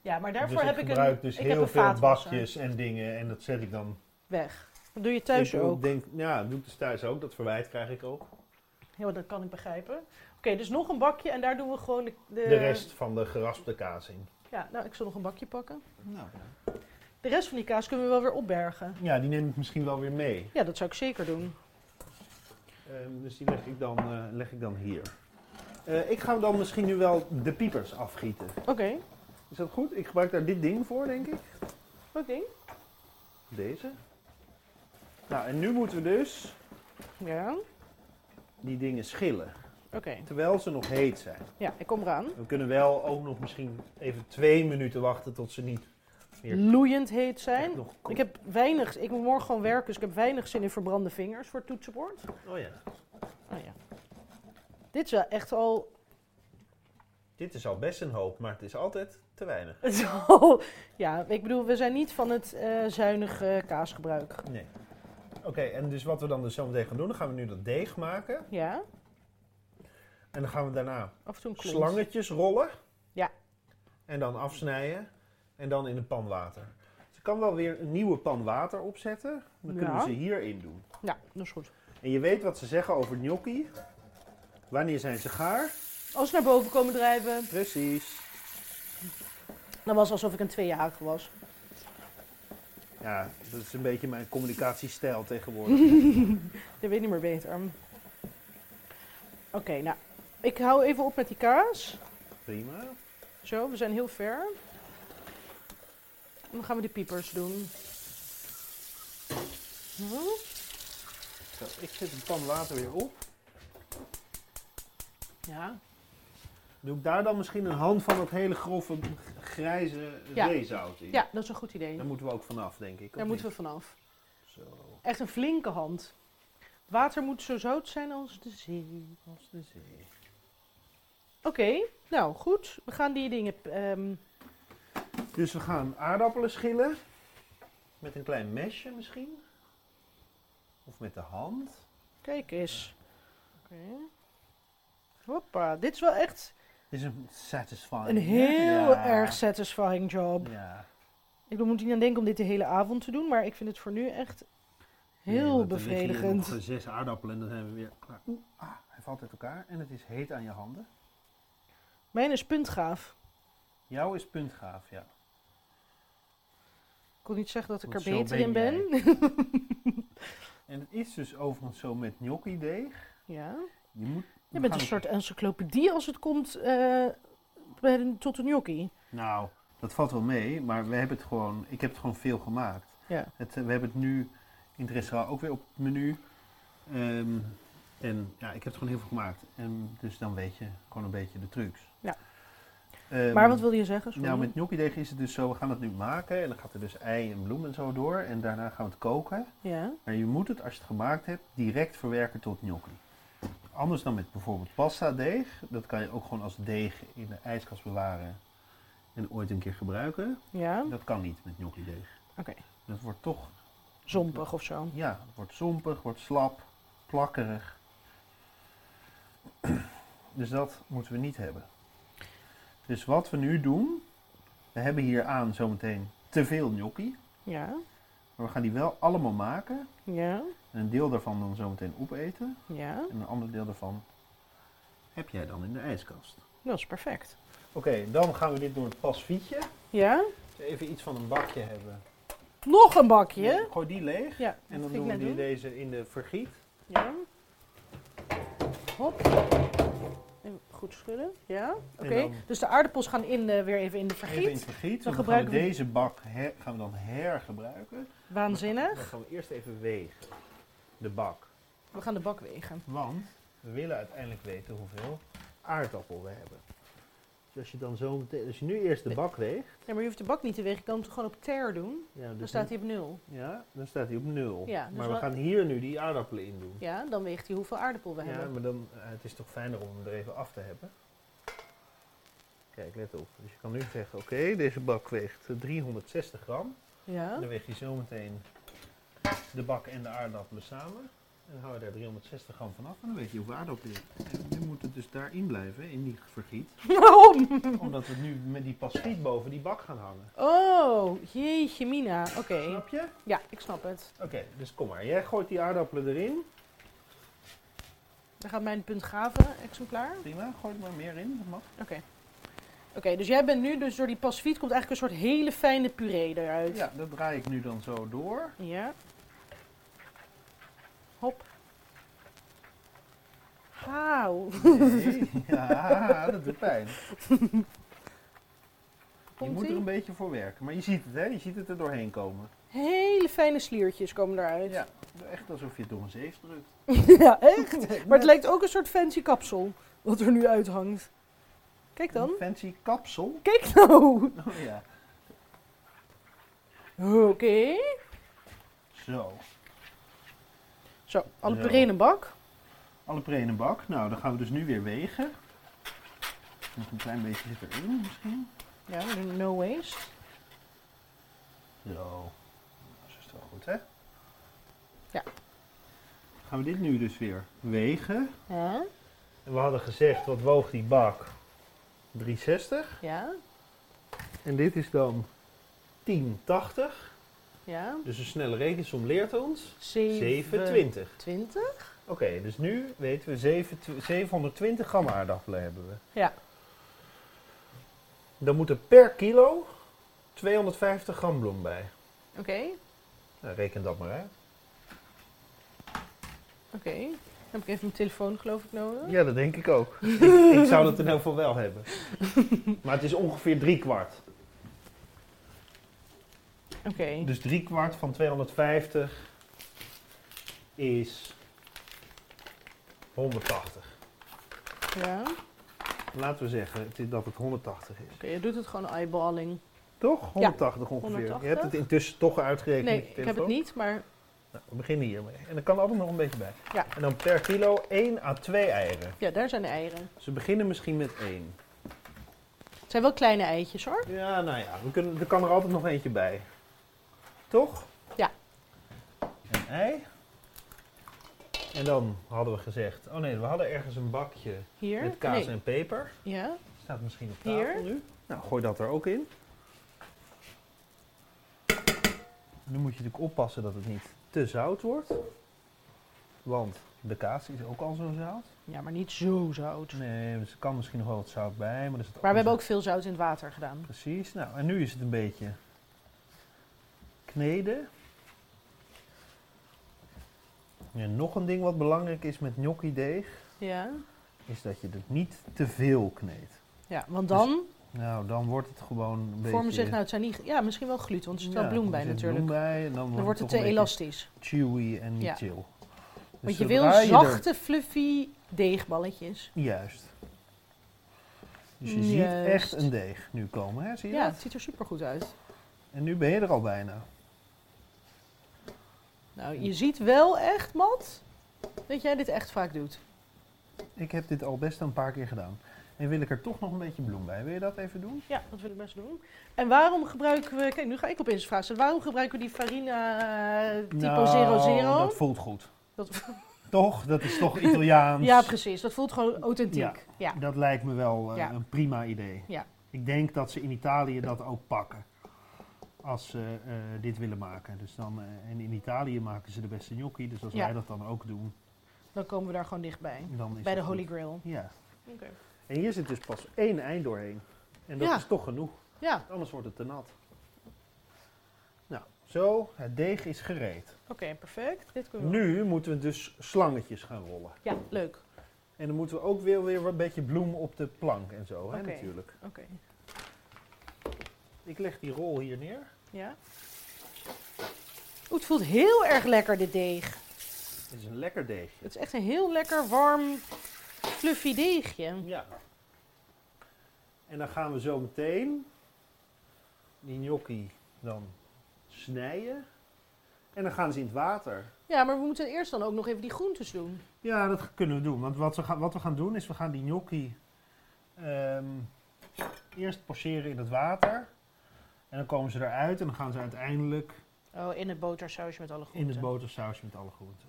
[SPEAKER 1] Ja, maar daarvoor
[SPEAKER 2] dus ik
[SPEAKER 1] heb ik
[SPEAKER 2] gebruik
[SPEAKER 1] een,
[SPEAKER 2] dus
[SPEAKER 1] ik heb
[SPEAKER 2] heel
[SPEAKER 1] een
[SPEAKER 2] veel
[SPEAKER 1] vaatwasser.
[SPEAKER 2] bakjes en dingen en dat zet ik dan
[SPEAKER 1] weg. Dat doe je thuis
[SPEAKER 2] Ik
[SPEAKER 1] ook.
[SPEAKER 2] Denk, ja, dat doe ik dus thuis ook. Dat verwijt krijg ik ook.
[SPEAKER 1] Ja, dat kan ik begrijpen. Oké, dus nog een bakje en daar doen we gewoon de,
[SPEAKER 2] De rest van de geraspte kaas in.
[SPEAKER 1] Ja, nou, ik zal nog een bakje pakken. De rest van die kaas kunnen we wel weer opbergen.
[SPEAKER 2] Ja, die neem ik misschien wel weer mee.
[SPEAKER 1] Ja, dat zou ik zeker doen.
[SPEAKER 2] Ehm, dus die leg ik dan, eh, leg ik dan hier. Eh, ik ga dan misschien nu wel de piepers afgieten.
[SPEAKER 1] Oké,
[SPEAKER 2] Is dat goed? Ik gebruik daar dit ding voor, denk ik.
[SPEAKER 1] oké.
[SPEAKER 2] Deze. Nou, en nu moeten we dus
[SPEAKER 1] Ja,
[SPEAKER 2] die dingen schillen.
[SPEAKER 1] oké.
[SPEAKER 2] Terwijl ze nog heet zijn.
[SPEAKER 1] Ja, ik kom eraan.
[SPEAKER 2] We kunnen wel ook nog misschien even twee minuten wachten tot ze niet meer
[SPEAKER 1] Loeiend heet
[SPEAKER 2] echt
[SPEAKER 1] zijn.
[SPEAKER 2] nog ko-
[SPEAKER 1] Ik heb weinig, ik moet morgen gewoon werken, dus ik heb weinig zin in verbrande vingers voor het toetsenbord.
[SPEAKER 2] Oh ja,
[SPEAKER 1] Oh ja. Dit is wel echt al,
[SPEAKER 2] dit is al best een hoop, maar het is altijd te weinig.
[SPEAKER 1] het is al- Ja, ik bedoel, we zijn niet van het eh, zuinige kaasgebruik.
[SPEAKER 2] Nee. Oké, en dus wat we dan dus zo meteen gaan doen, dan gaan we nu dat deeg maken.
[SPEAKER 1] Ja,
[SPEAKER 2] En dan gaan we daarna
[SPEAKER 1] af en toe een klont.
[SPEAKER 2] slangetjes rollen.
[SPEAKER 1] Ja.
[SPEAKER 2] En dan afsnijden. En dan in de pan water. Ze kan wel weer een nieuwe pan water opzetten. Dan kunnen we
[SPEAKER 1] Ja.
[SPEAKER 2] ze hierin doen.
[SPEAKER 1] Ja, dat is goed.
[SPEAKER 2] En je weet wat ze zeggen over gnocchi. Wanneer zijn ze gaar?
[SPEAKER 1] Als ze naar boven komen drijven,
[SPEAKER 2] Precies.
[SPEAKER 1] dan was alsof ik een tweejarige was.
[SPEAKER 2] Ja, dat is een beetje mijn communicatiestijl tegenwoordig.
[SPEAKER 1] Dat weet niet meer beter. Oké, nou. Ik hou even op met die kaas.
[SPEAKER 2] Prima.
[SPEAKER 1] Zo, we zijn heel ver. En dan gaan we de piepers doen. Hm? Zo.
[SPEAKER 2] Zo, ik zet de pan water weer op.
[SPEAKER 1] Ja.
[SPEAKER 2] Doe ik daar dan misschien een hand van dat hele grove grijze
[SPEAKER 1] Ja.
[SPEAKER 2] zeezout in?
[SPEAKER 1] ja, dat is een goed idee.
[SPEAKER 2] Daar moeten we ook vanaf, denk ik.
[SPEAKER 1] Daar moeten we vanaf.
[SPEAKER 2] Zo,
[SPEAKER 1] Echt een flinke hand. Water moet zo zout zijn als de zee.
[SPEAKER 2] als de zee.
[SPEAKER 1] Oké, nou goed. We gaan die dingen. ehm,
[SPEAKER 2] Dus we gaan aardappelen schillen. Met een klein mesje misschien. Of met de hand.
[SPEAKER 1] kijk eens. Oké. Hoppa, dit is wel echt
[SPEAKER 2] Dit is een satisfying.
[SPEAKER 1] een
[SPEAKER 2] hè?
[SPEAKER 1] heel
[SPEAKER 2] Oh, Ja.
[SPEAKER 1] erg satisfying job.
[SPEAKER 2] Ja.
[SPEAKER 1] Ik bedoel, moet niet aan denken om dit de hele avond te doen, maar ik vind het voor nu echt heel
[SPEAKER 2] Nee, want dan liggen hier
[SPEAKER 1] bevredigend.
[SPEAKER 2] nog zes aardappelen en dan zijn we weer klaar. Oeh, ah, hij valt uit elkaar en het is heet aan je handen.
[SPEAKER 1] Mijn is puntgaaf.
[SPEAKER 2] Jouw is puntgaaf, ja.
[SPEAKER 1] Ik kon niet zeggen dat ik
[SPEAKER 2] Want
[SPEAKER 1] er
[SPEAKER 2] zo
[SPEAKER 1] beter
[SPEAKER 2] ben
[SPEAKER 1] in ben.
[SPEAKER 2] En het is dus overigens zo met gnocchi deeg.
[SPEAKER 1] ja.
[SPEAKER 2] Je, moet,
[SPEAKER 1] Je
[SPEAKER 2] we
[SPEAKER 1] bent
[SPEAKER 2] gaan
[SPEAKER 1] een
[SPEAKER 2] het-
[SPEAKER 1] soort encyclopedie als het komt eh, bij de- tot de gnocchi.
[SPEAKER 2] Nou, dat valt wel mee, maar we hebben het gewoon, ik heb het gewoon veel gemaakt.
[SPEAKER 1] Ja.
[SPEAKER 2] Het, eh, we hebben het nu in het restaurant ook weer op het menu. Ehm, en ja, ik heb het gewoon heel veel gemaakt. En dus dan weet je gewoon een beetje de trucs.
[SPEAKER 1] Ja.
[SPEAKER 2] Ehm,
[SPEAKER 1] maar wat wil je zeggen? Sorry.
[SPEAKER 2] Nou, met gnocchi-deeg is het dus zo, we gaan het nu maken. En dan gaat er dus ei en bloem en zo door. En daarna gaan we het koken.
[SPEAKER 1] Ja.
[SPEAKER 2] Maar je moet het, als je het gemaakt hebt, direct verwerken tot gnocchi. Anders dan met bijvoorbeeld pasta deeg. Dat kan je ook gewoon als deeg in de ijskast bewaren. En ooit een keer gebruiken.
[SPEAKER 1] Ja. Oké.
[SPEAKER 2] Dat kan niet met gnocchi deeg. Dat wordt toch,
[SPEAKER 1] Zompig of zo.
[SPEAKER 2] ja, het wordt zompig, wordt slap, plakkerig. Dus dat moeten we niet hebben. Dus wat we nu doen, we hebben hier aan zometeen te veel gnocchi.
[SPEAKER 1] Ja.
[SPEAKER 2] Maar we gaan die wel allemaal maken.
[SPEAKER 1] Ja.
[SPEAKER 2] En een deel daarvan dan zometeen opeten.
[SPEAKER 1] Ja.
[SPEAKER 2] En een ander deel daarvan heb jij dan in de ijskast.
[SPEAKER 1] Dat is perfect.
[SPEAKER 2] Oké, dan gaan we dit door het pasfietje.
[SPEAKER 1] Ja.
[SPEAKER 2] Dus even iets van een bakje hebben.
[SPEAKER 1] Nog een bakje.
[SPEAKER 2] Gooi die leeg.
[SPEAKER 1] Ja. dat
[SPEAKER 2] En dan
[SPEAKER 1] ging ik
[SPEAKER 2] doen we
[SPEAKER 1] net
[SPEAKER 2] die
[SPEAKER 1] doen.
[SPEAKER 2] deze in de vergiet.
[SPEAKER 1] Ja. Hop. Even goed schudden. Ja. Oké.
[SPEAKER 2] dan-
[SPEAKER 1] Dus de aardappels gaan in de- weer even in de
[SPEAKER 2] Even in het
[SPEAKER 1] vergiet.
[SPEAKER 2] vergiet.
[SPEAKER 1] Dan
[SPEAKER 2] Dan, gaan we
[SPEAKER 1] gebruiken we-
[SPEAKER 2] deze bak her- gaan we dan hergebruiken. Dan
[SPEAKER 1] Waanzinnig.
[SPEAKER 2] gaan we eerst even wegen. De bak.
[SPEAKER 1] We gaan de bak wegen.
[SPEAKER 2] Want we willen uiteindelijk weten hoeveel aardappel we hebben. Dus als je dan zo meteen, als je nu eerst de bak weegt.
[SPEAKER 1] Ja, maar je hoeft de bak niet te wegen. Je kan hem gewoon op ter doen.
[SPEAKER 2] Ja,
[SPEAKER 1] Dan
[SPEAKER 2] dus
[SPEAKER 1] staat hij op nul.
[SPEAKER 2] Ja, dan staat hij op nul.
[SPEAKER 1] Ja, dus
[SPEAKER 2] maar we
[SPEAKER 1] wat-
[SPEAKER 2] gaan hier nu die aardappelen in doen.
[SPEAKER 1] Ja, dan weegt hij hoeveel aardappel we
[SPEAKER 2] Ja,
[SPEAKER 1] hebben.
[SPEAKER 2] maar dan, eh, het is toch fijner om hem er even af te hebben. Kijk, let op. Dus je kan nu zeggen, oké, deze bak weegt eh, 360 gram.
[SPEAKER 1] Ja.
[SPEAKER 2] Dan weeg je zometeen de bak en de aardappelen samen. En dan hou je daar 360 gram van af en dan weet je hoeveel aardappelen je hebt. En we moeten dus daarin blijven, hè, in die vergiet.
[SPEAKER 1] Waarom?
[SPEAKER 2] Omdat we nu met die pastiet boven die bak gaan hangen.
[SPEAKER 1] Oh, jeetje mina. Oké.
[SPEAKER 2] Snap je?
[SPEAKER 1] Ja, ik snap het.
[SPEAKER 2] Oké, dus kom maar. Jij gooit die aardappelen erin.
[SPEAKER 1] Dan gaat mijn puntgave exemplaar.
[SPEAKER 2] Prima, gooi er maar meer in. Dat mag.
[SPEAKER 1] Oké. Oké, dus jij bent nu, dus door die pasfiet komt eigenlijk een soort hele fijne puree eruit.
[SPEAKER 2] Ja, dat draai ik nu dan zo door.
[SPEAKER 1] Ja. Hop. Wauw.
[SPEAKER 2] Nee, ja, dat doet pijn. Je moet er een
[SPEAKER 1] Komt-ie?
[SPEAKER 2] beetje voor werken. Maar je ziet het, hè? Je ziet het er doorheen komen.
[SPEAKER 1] Hele fijne sliertjes komen eruit.
[SPEAKER 2] Ja, echt alsof je het door een zeef drukt.
[SPEAKER 1] Ja, echt. Maar het lijkt ook een soort fancy kapsel, wat er nu uithangt. Kijk dan.
[SPEAKER 2] Een fancy kapsel.
[SPEAKER 1] Kijk nou.
[SPEAKER 2] Oh ja.
[SPEAKER 1] Oké.
[SPEAKER 2] Zo.
[SPEAKER 1] Zo, alle
[SPEAKER 2] Zo.
[SPEAKER 1] puree in een bak.
[SPEAKER 2] Alle pre in een bak. Nou, dan gaan we dus nu weer wegen. Nog een klein beetje zit erin misschien.
[SPEAKER 1] Ja, we doen no waste.
[SPEAKER 2] Zo. Zo is het wel goed, hè?
[SPEAKER 1] Ja.
[SPEAKER 2] Gaan we dit nu dus weer wegen.
[SPEAKER 1] Ja,
[SPEAKER 2] En we hadden gezegd, wat woog die bak? 360.
[SPEAKER 1] ja,
[SPEAKER 2] En dit is dan 1080.
[SPEAKER 1] ja.
[SPEAKER 2] Dus een snelle rekensom leert ons
[SPEAKER 1] 720.
[SPEAKER 2] 720. Oké, dus nu weten we zeven- tw- 720 gram aardappelen hebben we.
[SPEAKER 1] Ja.
[SPEAKER 2] Dan moet er per kilo 250 gram bloem bij.
[SPEAKER 1] Oké,
[SPEAKER 2] Nou, reken dat maar uit.
[SPEAKER 1] oké. Heb ik even mijn telefoon geloof ik nodig?
[SPEAKER 2] Ja, dat denk ik ook. ik, ik zou dat in ieder geval wel hebben. Maar het is ongeveer drie kwart.
[SPEAKER 1] Oké.
[SPEAKER 2] Dus drie kwart van 250 is 180.
[SPEAKER 1] Ja. Oké,
[SPEAKER 2] Laten we zeggen het is- dat het 180 is.
[SPEAKER 1] je doet het gewoon eyeballing.
[SPEAKER 2] Toch? 180 ongeveer. Je hebt
[SPEAKER 1] 180.
[SPEAKER 2] het intussen toch uitgerekend.
[SPEAKER 1] Nee,
[SPEAKER 2] met je
[SPEAKER 1] ik heb het
[SPEAKER 2] telefoon?
[SPEAKER 1] niet, maar
[SPEAKER 2] Nou, we beginnen hiermee. En er kan altijd nog een beetje bij.
[SPEAKER 1] Ja.
[SPEAKER 2] En dan per kilo 1 à 2 eieren.
[SPEAKER 1] Ja, daar zijn de eieren.
[SPEAKER 2] Ze beginnen misschien met 1.
[SPEAKER 1] Het zijn wel kleine eitjes hoor.
[SPEAKER 2] Ja, nou ja, we kunnen, er kan er altijd nog eentje bij. Toch?
[SPEAKER 1] Ja.
[SPEAKER 2] Een ei. En dan hadden we gezegd, oh nee, we hadden ergens een bakje
[SPEAKER 1] Hier.
[SPEAKER 2] met kaas
[SPEAKER 1] Nee.
[SPEAKER 2] en peper.
[SPEAKER 1] Ja.
[SPEAKER 2] Staat misschien op tafel
[SPEAKER 1] Hier.
[SPEAKER 2] nu. Nou, gooi dat er ook in. Nu moet je natuurlijk oppassen dat het niet te zout wordt. Want de kaas is ook al zo zout.
[SPEAKER 1] ja, maar niet zo zout.
[SPEAKER 2] Nee, dus er kan misschien nog wel wat zout bij. Maar, er zit
[SPEAKER 1] Maar we hebben ook
[SPEAKER 2] alles
[SPEAKER 1] veel zout in het water gedaan.
[SPEAKER 2] in. Precies. Nou, en nu is het een beetje kneden. En nog een ding wat belangrijk is met gnocchi deeg,
[SPEAKER 1] Ja.
[SPEAKER 2] is dat je het niet te veel kneedt.
[SPEAKER 1] Ja, want dan
[SPEAKER 2] Nou, dan wordt het gewoon een beetje...
[SPEAKER 1] vormen zich, nou het zijn niet, ja, misschien wel gluten, want er zit wel
[SPEAKER 2] Ja,
[SPEAKER 1] bloem bij
[SPEAKER 2] er zit
[SPEAKER 1] natuurlijk.
[SPEAKER 2] bloem bij en dan,
[SPEAKER 1] Dan wordt het te
[SPEAKER 2] toch een beetje
[SPEAKER 1] elastisch.
[SPEAKER 2] chewy en niet
[SPEAKER 1] Ja.
[SPEAKER 2] chill. Dus
[SPEAKER 1] Want je wil
[SPEAKER 2] zodra er-
[SPEAKER 1] zachte, fluffy deegballetjes.
[SPEAKER 2] Juist. Dus je ziet echt
[SPEAKER 1] Juist.
[SPEAKER 2] een deeg nu komen, hè? Zie je
[SPEAKER 1] Ja,
[SPEAKER 2] dat?
[SPEAKER 1] het ziet er supergoed uit.
[SPEAKER 2] En nu ben je er al bijna.
[SPEAKER 1] Nou, je ziet wel echt, Matt, dat jij dit echt vaak doet.
[SPEAKER 2] Ik heb dit al best een paar keer gedaan. En wil ik er toch nog een beetje bloem bij. Wil je dat even doen?
[SPEAKER 1] Ja, dat wil ik best doen. En waarom gebruiken we, kijk, nu ga ik op Insta vragen stellen. Waarom gebruiken we die farina eh, typo 00?
[SPEAKER 2] Nou, dat voelt goed.
[SPEAKER 1] Dat-
[SPEAKER 2] toch? Dat is toch Italiaans?
[SPEAKER 1] ja, precies. Dat voelt gewoon authentiek. Ja.
[SPEAKER 2] Dat lijkt me wel eh,
[SPEAKER 1] Ja.
[SPEAKER 2] een prima idee.
[SPEAKER 1] Ja.
[SPEAKER 2] Ik denk dat ze in Italië dat ook pakken. Als ze eh, dit willen maken. Dus dan, eh, en in Italië maken ze de beste gnocchi. Dus als
[SPEAKER 1] Ja.
[SPEAKER 2] wij dat dan ook doen,
[SPEAKER 1] dan komen we daar gewoon dichtbij.
[SPEAKER 2] dan is
[SPEAKER 1] Bij de
[SPEAKER 2] dat
[SPEAKER 1] Holy
[SPEAKER 2] goed.
[SPEAKER 1] Grail.
[SPEAKER 2] Ja.
[SPEAKER 1] Oké.
[SPEAKER 2] En hier zit dus pas één eind doorheen. En dat
[SPEAKER 1] Ja.
[SPEAKER 2] is toch genoeg.
[SPEAKER 1] Ja,
[SPEAKER 2] Anders wordt het te nat. Nou, zo. Het deeg is gereed.
[SPEAKER 1] oké, perfect. Dit kunnen we.
[SPEAKER 2] Nu moeten we dus slangetjes gaan rollen.
[SPEAKER 1] Ja, leuk.
[SPEAKER 2] En dan moeten we ook weer, weer een beetje bloem op de plank en zo, hè,
[SPEAKER 1] Oké.
[SPEAKER 2] natuurlijk.
[SPEAKER 1] Oké.
[SPEAKER 2] Ik leg die rol hier neer.
[SPEAKER 1] Ja. Oeh, het voelt heel erg lekker, dit deeg.
[SPEAKER 2] Dit is een lekker deegje.
[SPEAKER 1] Het is echt een heel lekker, warm, fluffy deegje.
[SPEAKER 2] Ja. En dan gaan we zo meteen die gnocchi dan snijden. En dan gaan ze in het water.
[SPEAKER 1] Ja, maar we moeten eerst dan ook nog even die groentes doen.
[SPEAKER 2] Ja, dat kunnen we doen. Want wat we gaan, wat we gaan doen is, we gaan die gnocchi ehm, eerst poseren in het water. En dan komen ze eruit en dan gaan ze uiteindelijk
[SPEAKER 1] Oh, in het botersausje met alle
[SPEAKER 2] In
[SPEAKER 1] groenten.
[SPEAKER 2] het botersausje met alle groenten.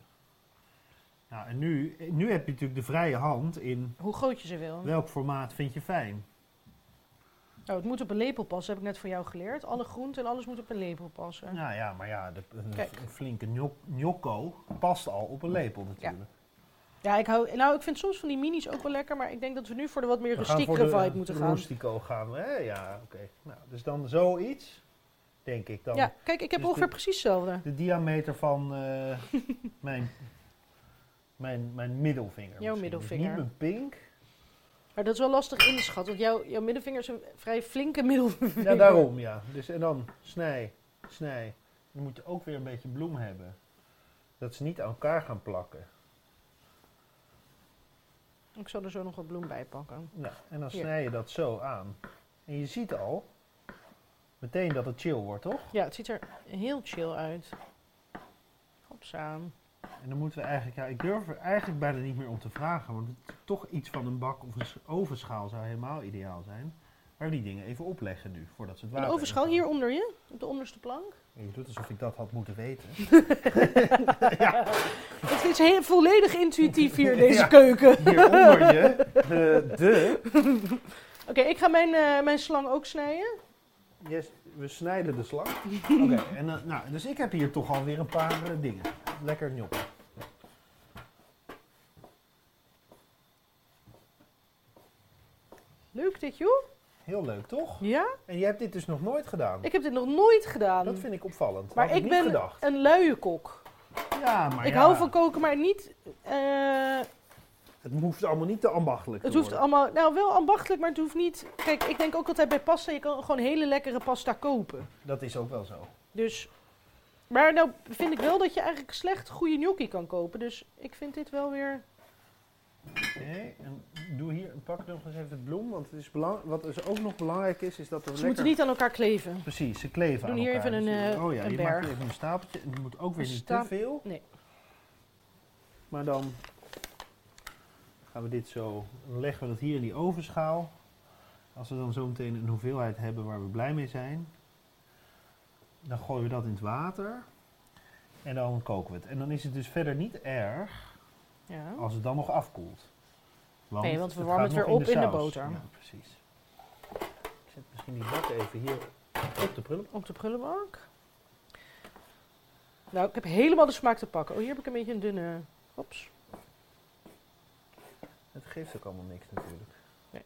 [SPEAKER 2] Nou, en nu, nu heb je natuurlijk de vrije hand in
[SPEAKER 1] Hoe groot je ze wil.
[SPEAKER 2] welk formaat vind je fijn.
[SPEAKER 1] Oh, het moet op een lepel passen, heb ik net van jou geleerd. Alle groenten en alles moet op een lepel passen.
[SPEAKER 2] Nou ja, maar ja, de, een,
[SPEAKER 1] Kijk.
[SPEAKER 2] een flinke gnoc- gnocco past al op een lepel natuurlijk.
[SPEAKER 1] Ja, ik hou. Nou, ik vind soms van die minis ook wel lekker, maar ik denk dat we nu voor de wat meer
[SPEAKER 2] We gaan voor
[SPEAKER 1] rustiekere vibe
[SPEAKER 2] de eh,
[SPEAKER 1] moeten gaan.
[SPEAKER 2] Rustico gaan we, hè? Ja, oké. Nou, dus dan zoiets, denk ik dan.
[SPEAKER 1] Ja, kijk, ik heb
[SPEAKER 2] Dus
[SPEAKER 1] ongeveer
[SPEAKER 2] dit-
[SPEAKER 1] precies hetzelfde.
[SPEAKER 2] De diameter van eh, mijn, mijn, mijn middelvinger.
[SPEAKER 1] Jouw
[SPEAKER 2] misschien. Dus
[SPEAKER 1] middelvinger.
[SPEAKER 2] niet mijn pink.
[SPEAKER 1] Maar dat is wel lastig inschat, want jouw, jouw middenvinger is een vrij flinke middelvinger.
[SPEAKER 2] Ja, daarom ja. Dus en dan snij, snij. Dan moet je ook weer een beetje bloem hebben. Dat ze niet aan elkaar gaan plakken.
[SPEAKER 1] Ik zal er zo nog wat bloem bij pakken.
[SPEAKER 2] Nou, en dan
[SPEAKER 1] Hier.
[SPEAKER 2] snij je dat zo aan. En je ziet al meteen dat het chill wordt, toch?
[SPEAKER 1] Ja, het ziet er heel chill uit. Hopsa.
[SPEAKER 2] En dan moeten we eigenlijk, ja, ik durf er eigenlijk bijna niet meer om te vragen. Want het- toch iets van een bak of een s- ovenschaal zou helemaal ideaal zijn. Maar die dingen even opleggen nu, voordat ze het
[SPEAKER 1] Een
[SPEAKER 2] water
[SPEAKER 1] overschal
[SPEAKER 2] ingaan.
[SPEAKER 1] hier onder je, op de onderste plank.
[SPEAKER 2] Je doet alsof ik dat had moeten weten.
[SPEAKER 1] Het is heel, volledig intuïtief hier, deze
[SPEAKER 2] Ja.
[SPEAKER 1] keuken.
[SPEAKER 2] Hieronder je, de, de
[SPEAKER 1] Oké, ik ga mijn, eh, mijn slang ook snijden.
[SPEAKER 2] Yes, we snijden de slang. Oké, en, eh, nou, dus ik heb hier toch alweer een paar eh, dingen. Lekker njoppen.
[SPEAKER 1] Leuk dit, joh.
[SPEAKER 2] Heel leuk, toch?
[SPEAKER 1] Ja?
[SPEAKER 2] En je hebt dit dus nog nooit gedaan.
[SPEAKER 1] Ik heb dit nog nooit gedaan.
[SPEAKER 2] Dat vind ik opvallend.
[SPEAKER 1] maar
[SPEAKER 2] Had
[SPEAKER 1] ik
[SPEAKER 2] niet
[SPEAKER 1] ben
[SPEAKER 2] gedacht.
[SPEAKER 1] een luie kok.
[SPEAKER 2] Ja, maar
[SPEAKER 1] ik
[SPEAKER 2] ja,
[SPEAKER 1] hou van koken, maar niet... eh,
[SPEAKER 2] Het hoeft allemaal niet te ambachtelijk
[SPEAKER 1] Het
[SPEAKER 2] te
[SPEAKER 1] hoeft
[SPEAKER 2] worden.
[SPEAKER 1] allemaal, nou wel ambachtelijk, maar het hoeft niet. Kijk, ik denk ook altijd bij pasta, je kan gewoon hele lekkere pasta kopen.
[SPEAKER 2] Dat is ook wel zo.
[SPEAKER 1] Dus, maar nou vind ik wel dat je eigenlijk slecht goede gnocchi kan kopen. Dus ik vind dit wel weer
[SPEAKER 2] Nee, en doe hier, pak nog eens even de bloem, want het is belang, wat dus ook nog belangrijk is, is dat er
[SPEAKER 1] Ze
[SPEAKER 2] lekker...
[SPEAKER 1] moeten niet aan elkaar kleven.
[SPEAKER 2] Precies, ze kleven
[SPEAKER 1] Doen
[SPEAKER 2] aan
[SPEAKER 1] hier
[SPEAKER 2] elkaar.
[SPEAKER 1] even
[SPEAKER 2] Dus
[SPEAKER 1] een,
[SPEAKER 2] je-
[SPEAKER 1] eh,
[SPEAKER 2] Oh ja,
[SPEAKER 1] een
[SPEAKER 2] je
[SPEAKER 1] berg.
[SPEAKER 2] maakt hier even een stapeltje. En het moet ook weer
[SPEAKER 1] Een
[SPEAKER 2] niet te
[SPEAKER 1] stap-
[SPEAKER 2] veel.
[SPEAKER 1] nee.
[SPEAKER 2] Maar dan gaan we dit zo, dan leggen we dat hier in die ovenschaal. Als we dan zo meteen een hoeveelheid hebben waar we blij mee zijn, dan gooien we dat in het water. En dan koken we het. En dan is het dus verder niet erg
[SPEAKER 1] Ja.
[SPEAKER 2] als het dan nog afkoelt.
[SPEAKER 1] Nee, want we
[SPEAKER 2] het
[SPEAKER 1] warmen
[SPEAKER 2] gaat
[SPEAKER 1] het weer
[SPEAKER 2] nog
[SPEAKER 1] op in de
[SPEAKER 2] saus.
[SPEAKER 1] boter.
[SPEAKER 2] Ja, precies. Ik zet misschien die bak even hier op de prullenbak.
[SPEAKER 1] Op de prullenbank. Nou, ik heb helemaal de smaak te pakken. Oh, hier heb ik een beetje een dunne... Ops.
[SPEAKER 2] Het geeft ook allemaal niks natuurlijk.
[SPEAKER 1] Nee.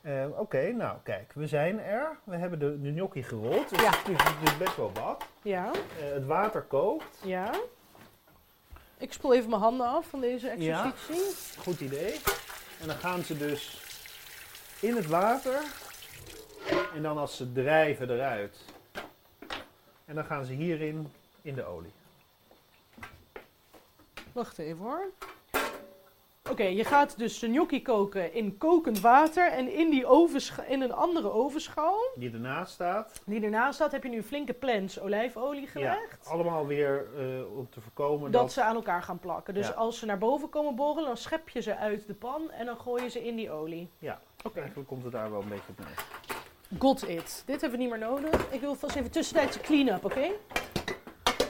[SPEAKER 2] Eh, Oké, nou kijk, we zijn er. We hebben de, de gnocchi gerold. Dus
[SPEAKER 1] Ja.
[SPEAKER 2] het, is, het is best wel wat.
[SPEAKER 1] Ja,
[SPEAKER 2] Eh, het water kookt.
[SPEAKER 1] ja. Ik spoel even mijn handen af van deze
[SPEAKER 2] Ja.
[SPEAKER 1] exercitie.
[SPEAKER 2] Goed idee. En dan gaan ze dus in het water. En dan als ze drijven eruit. En dan gaan ze hierin in de olie.
[SPEAKER 1] Wacht even hoor. Oké, je gaat dus de gnocchi koken in kokend water. En in, die ovenscha- in een andere ovenschaal,
[SPEAKER 2] Die ernaast staat.
[SPEAKER 1] die ernaast staat, heb je nu flinke plens olijfolie gelegd.
[SPEAKER 2] Allemaal weer eh, om te voorkomen
[SPEAKER 1] dat,
[SPEAKER 2] Oh, dat,
[SPEAKER 1] ze aan elkaar gaan plakken. Dus
[SPEAKER 2] Ja.
[SPEAKER 1] als ze naar boven komen borrelen, dan schep je ze uit de pan en dan gooi je ze in die olie.
[SPEAKER 2] Ja.
[SPEAKER 1] Oké.
[SPEAKER 2] Eigenlijk komt het daar wel een beetje op neer.
[SPEAKER 1] Got it. Dit hebben we niet meer nodig. Ik wil vast even tussentijds een clean-up, oké?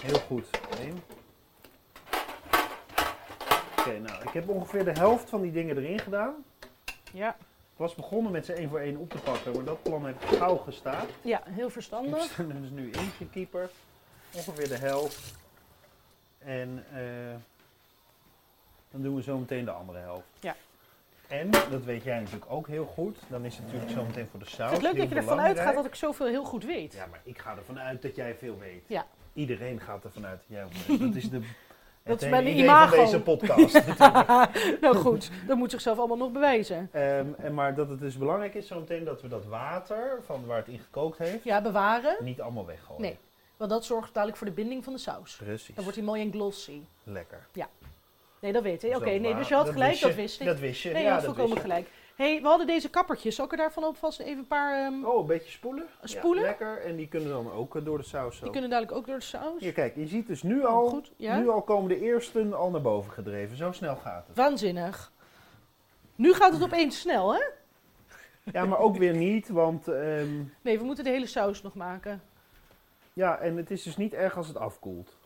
[SPEAKER 2] Heel goed. Eén. Oké, nou, ik heb ongeveer de helft van die dingen erin gedaan.
[SPEAKER 1] Ja.
[SPEAKER 2] Ik was begonnen met ze één voor één op te pakken, maar dat plan heb ik gauw gestaakt.
[SPEAKER 1] ja, heel
[SPEAKER 2] Ik
[SPEAKER 1] verstandig.
[SPEAKER 2] sta er dus nu eentje keeper. Ongeveer de helft. En eh, dan doen we zo meteen de andere helft.
[SPEAKER 1] Ja.
[SPEAKER 2] En, dat weet jij natuurlijk ook heel goed, dan is het natuurlijk zo meteen voor de saus.
[SPEAKER 1] Het is leuk
[SPEAKER 2] heel
[SPEAKER 1] dat je ervan
[SPEAKER 2] belangrijk.
[SPEAKER 1] uitgaat dat ik zoveel heel goed weet.
[SPEAKER 2] Ja, maar ik ga ervan uit dat jij veel weet.
[SPEAKER 1] Ja.
[SPEAKER 2] Iedereen gaat ervan uit dat jij veel weet. Dat is de...
[SPEAKER 1] Dat
[SPEAKER 2] het
[SPEAKER 1] is mijn
[SPEAKER 2] hele
[SPEAKER 1] imago.
[SPEAKER 2] van deze podcast. natuurlijk.
[SPEAKER 1] nou goed, dat moet zichzelf allemaal nog bewijzen.
[SPEAKER 2] Ehm, en maar dat het dus belangrijk is zometeen dat we dat water, van waar het in gekookt heeft,
[SPEAKER 1] Ja, bewaren.
[SPEAKER 2] niet allemaal weggooien.
[SPEAKER 1] Nee. Want dat zorgt dadelijk voor de binding van de saus.
[SPEAKER 2] Precies.
[SPEAKER 1] Dan wordt hij mooi en glossy.
[SPEAKER 2] Lekker.
[SPEAKER 1] Nee, dat weet ik.
[SPEAKER 2] Dus
[SPEAKER 1] Oké,
[SPEAKER 2] dat
[SPEAKER 1] nee,
[SPEAKER 2] wa-
[SPEAKER 1] dus je had gelijk, dat
[SPEAKER 2] je.
[SPEAKER 1] wist ik.
[SPEAKER 2] Dat wist je,
[SPEAKER 1] nee, je
[SPEAKER 2] ja,
[SPEAKER 1] had
[SPEAKER 2] dat
[SPEAKER 1] volkomen
[SPEAKER 2] wist je.
[SPEAKER 1] gelijk. hey, we hadden deze kappertjes. Zal ik er daarvan alvast even een paar... ehm,
[SPEAKER 2] Oh, een beetje spoelen.
[SPEAKER 1] Spoelen?
[SPEAKER 2] Ja, lekker. En die kunnen dan ook eh, door de saus zo.
[SPEAKER 1] die kunnen dadelijk ook door de saus.
[SPEAKER 2] Hier, kijk, je ziet dus nu
[SPEAKER 1] Oh,
[SPEAKER 2] al,
[SPEAKER 1] goed, ja.
[SPEAKER 2] nu al komen de eersten al naar boven gedreven. Zo snel gaat het.
[SPEAKER 1] Waanzinnig. Nu gaat het opeens snel, hè?
[SPEAKER 2] Ja, maar ook weer niet, want ehm,
[SPEAKER 1] Nee, we moeten de hele saus nog maken.
[SPEAKER 2] ja, en het is dus niet erg als het afkoelt.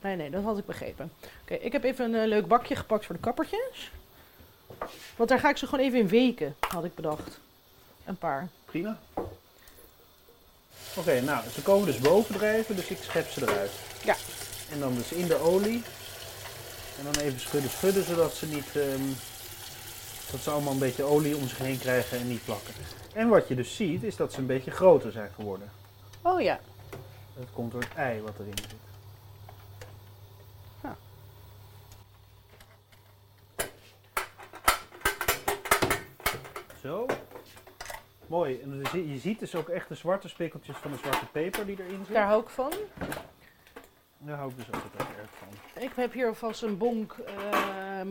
[SPEAKER 1] Nee, nee, dat had ik begrepen. Oké, ik heb even een eh, leuk bakje gepakt voor de kappertjes. Want daar ga ik ze gewoon even in weken, had ik bedacht. Een paar.
[SPEAKER 2] Prima. Oké, nou, ze komen dus bovendrijven, dus ik schep ze eruit.
[SPEAKER 1] Ja.
[SPEAKER 2] En dan dus in de olie. En dan even schudden, schudden, zodat ze niet... ehm, dat ze allemaal een beetje olie om zich heen krijgen en niet plakken. En wat je dus ziet, is dat ze een beetje groter zijn geworden.
[SPEAKER 1] Oh ja.
[SPEAKER 2] Dat komt door het ei wat erin zit.
[SPEAKER 1] Ja.
[SPEAKER 2] Zo. Mooi. En dan zie- je ziet dus ook echt de zwarte spikkeltjes van de zwarte peper die erin zit.
[SPEAKER 1] Daar hou ik van.
[SPEAKER 2] Daar hou ik dus ook altijd erg van.
[SPEAKER 1] Ik heb hier alvast een bonk ehm,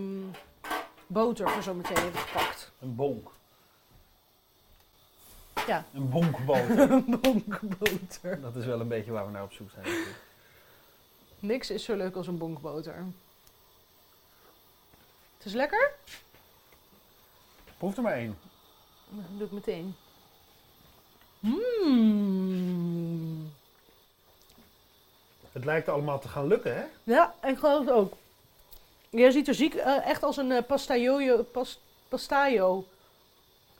[SPEAKER 1] boter voor zometeen even gepakt.
[SPEAKER 2] Een bonk.
[SPEAKER 1] Ja.
[SPEAKER 2] Een bonkboter.
[SPEAKER 1] Een bonk boter.
[SPEAKER 2] dat is wel een beetje waar we naar op zoek zijn. natuurlijk.
[SPEAKER 1] Niks is zo leuk als een bonk boter. Het is lekker?
[SPEAKER 2] Proef er maar één.
[SPEAKER 1] Dat doe ik meteen. Mmm.
[SPEAKER 2] Het lijkt allemaal te gaan lukken, hè?
[SPEAKER 1] Ja, ik geloof het ook. Jij ziet er ziek eh, echt als een eh pastajojo, pas, pastajo.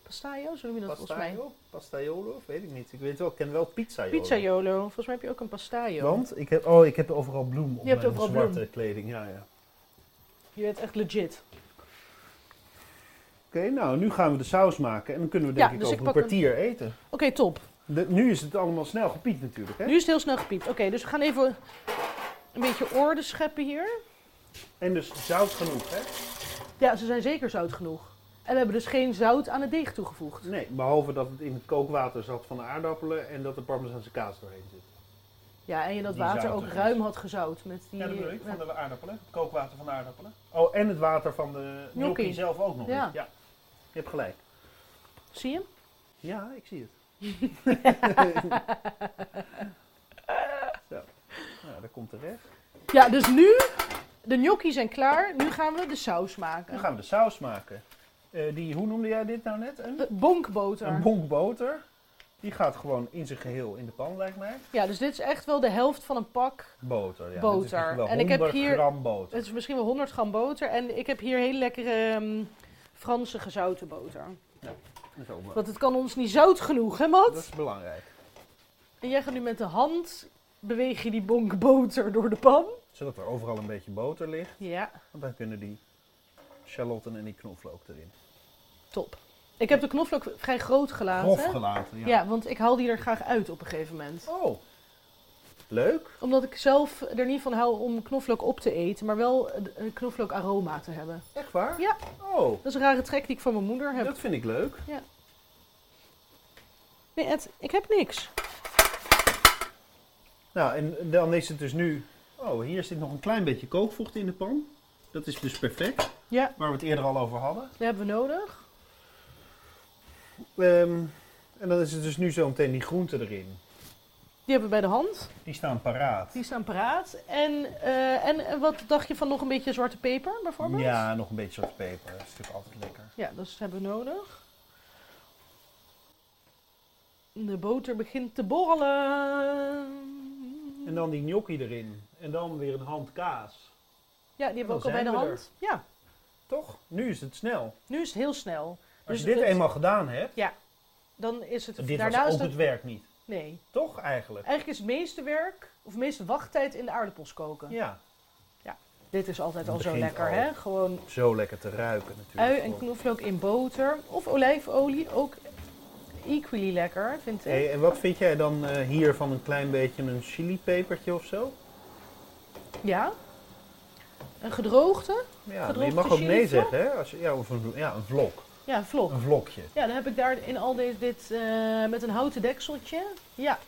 [SPEAKER 1] Pastajo, zo noem je dat volgens mij.
[SPEAKER 2] Pastaiolo? Pastaiolo? Of Weet ik niet. Ik weet wel, ik ken wel pizzaiolo.
[SPEAKER 1] Pizzajolo. Volgens mij heb je ook een pastajo.
[SPEAKER 2] Want ik heb, oh, ik heb overal bloem op
[SPEAKER 1] Je hebt
[SPEAKER 2] mijn
[SPEAKER 1] overal
[SPEAKER 2] zwarte
[SPEAKER 1] bloem.
[SPEAKER 2] kleding. Ja, ja.
[SPEAKER 1] Je bent echt legit.
[SPEAKER 2] Oké, nou, nu gaan we de saus maken en dan kunnen we
[SPEAKER 1] Ja,
[SPEAKER 2] denk ik
[SPEAKER 1] dus ik
[SPEAKER 2] over een
[SPEAKER 1] pak hem.
[SPEAKER 2] kwartier eten.
[SPEAKER 1] Oké, top.
[SPEAKER 2] De- nu is het allemaal snel gepiet natuurlijk, hè?
[SPEAKER 1] Nu is het heel snel gepiept. Oké, dus we gaan even een beetje orde scheppen hier.
[SPEAKER 2] En dus zout genoeg, hè?
[SPEAKER 1] Ja, ze zijn zeker zout genoeg. En we hebben dus geen zout aan het deeg toegevoegd.
[SPEAKER 2] Nee, behalve dat het in het kookwater zat van de aardappelen en dat er parmezaanse kaas doorheen zit.
[SPEAKER 1] Ja, en je dat
[SPEAKER 2] Die
[SPEAKER 1] water ook
[SPEAKER 2] zoutig is.
[SPEAKER 1] ruim had gezout met die...
[SPEAKER 2] Ja, dat bedoel ik, van
[SPEAKER 1] met-
[SPEAKER 2] de aardappelen. Het kookwater van de aardappelen. Oh, en het water van de
[SPEAKER 1] Gnocchi.
[SPEAKER 2] gnocchi zelf ook nog.
[SPEAKER 1] Ja.
[SPEAKER 2] eens. ja. Je hebt gelijk.
[SPEAKER 1] Zie je hem?
[SPEAKER 2] Ja, ik zie het.
[SPEAKER 3] Zo. Nou, daar komt de rest.
[SPEAKER 1] Ja, dus nu, de gnocchi zijn klaar. Nu gaan we de saus maken.
[SPEAKER 2] Nu gaan we de saus maken. Eh, die, hoe noemde jij dit nou net? Een,
[SPEAKER 1] Eh, Bonkboter.
[SPEAKER 2] een bonk boter. Die gaat gewoon in zijn geheel in de pan, lijkt mij.
[SPEAKER 1] ja, dus dit is echt wel de helft van een pak.
[SPEAKER 2] Boter, ja.
[SPEAKER 1] Boter.
[SPEAKER 2] Dit is echt wel
[SPEAKER 1] En ik heb
[SPEAKER 2] 100
[SPEAKER 1] hier-
[SPEAKER 2] gram boter.
[SPEAKER 1] Het is misschien wel 100 gram boter. En ik heb hier hele lekkere ehm, Franse gezouten boter.
[SPEAKER 3] Dat is, ook wel-
[SPEAKER 1] Want het kan ons niet zout genoeg, hè Mat?
[SPEAKER 2] Dat is belangrijk.
[SPEAKER 1] En jij gaat nu met de hand, beweeg je die bonk boter door de pan.
[SPEAKER 2] Zodat er overal een beetje boter ligt.
[SPEAKER 1] Ja,
[SPEAKER 2] Want dan kunnen die shallotten en die knoflook erin.
[SPEAKER 1] top. Ik heb de knoflook vrij groot gelaten.
[SPEAKER 2] Grof gelaten, ja.
[SPEAKER 1] ja. want ik haal die er graag uit op een gegeven moment.
[SPEAKER 2] Oh, leuk.
[SPEAKER 1] Omdat ik zelf er niet van hou om knoflook op te eten, maar wel eh, een knoflook aroma te hebben.
[SPEAKER 2] Echt waar?
[SPEAKER 1] Ja.
[SPEAKER 2] Oh,
[SPEAKER 1] Dat is een rare trek die ik van mijn moeder heb.
[SPEAKER 2] dat vind ik leuk.
[SPEAKER 1] Nee, Ed, ik heb niks.
[SPEAKER 2] Nou, en dan is het dus nu... Oh, hier zit nog een klein beetje kookvocht in de pan. Dat is dus perfect,
[SPEAKER 1] Ja,
[SPEAKER 2] waar we het eerder al over hadden.
[SPEAKER 1] dat hebben we nodig.
[SPEAKER 2] Ehm, en dan is het dus nu zo meteen die groenten erin.
[SPEAKER 1] Die hebben we bij de hand.
[SPEAKER 2] Die staan paraat.
[SPEAKER 1] Die staan paraat. En, eh, en eh, wat dacht je van nog een beetje zwarte peper bijvoorbeeld?
[SPEAKER 2] Ja, nog een beetje zwarte peper. Dat is natuurlijk altijd lekker.
[SPEAKER 1] Ja, dat hebben we nodig. De boter begint te borrelen.
[SPEAKER 2] En dan die gnocchi erin. En dan weer een hand kaas.
[SPEAKER 1] ja, die hebben we
[SPEAKER 2] dan
[SPEAKER 1] ook al bij de
[SPEAKER 2] zijn we
[SPEAKER 1] hand. Ja,
[SPEAKER 2] Toch? Nu is het snel.
[SPEAKER 1] nu is het heel snel.
[SPEAKER 2] Als
[SPEAKER 1] Dus
[SPEAKER 2] je dit
[SPEAKER 1] het-
[SPEAKER 2] eenmaal gedaan hebt...
[SPEAKER 1] Dan is het...
[SPEAKER 2] Dit
[SPEAKER 1] daarna
[SPEAKER 2] was
[SPEAKER 1] is
[SPEAKER 2] ook
[SPEAKER 1] het-
[SPEAKER 2] het werk niet.
[SPEAKER 1] Nee.
[SPEAKER 2] Toch eigenlijk?
[SPEAKER 1] Eigenlijk is het meeste werk, of het meeste wachttijd in de aardappels koken.
[SPEAKER 2] Ja.
[SPEAKER 1] Dit is altijd
[SPEAKER 2] Het
[SPEAKER 1] al zo
[SPEAKER 2] begint
[SPEAKER 1] lekker,
[SPEAKER 2] al.
[SPEAKER 1] hè? Gewoon
[SPEAKER 2] Zo lekker te ruiken natuurlijk.
[SPEAKER 1] ui en knoflook in boter. Of olijfolie, ook equally lekker, vind ik.
[SPEAKER 2] Hey, en wat vind jij dan eh, hier van een klein beetje een chilipepertje of zo?
[SPEAKER 1] Ja. Een gedroogde?
[SPEAKER 2] Ja, maar je
[SPEAKER 1] Gedroogde
[SPEAKER 2] mag ook nee
[SPEAKER 1] chilivlok?
[SPEAKER 2] zeggen, hè? Als je, ja, of een, ja, een vlok.
[SPEAKER 1] Ja, een vlog.
[SPEAKER 2] Een vlokje.
[SPEAKER 1] Ja, dan heb ik daar in al deze, dit eh, met een houten dekseltje. Ja,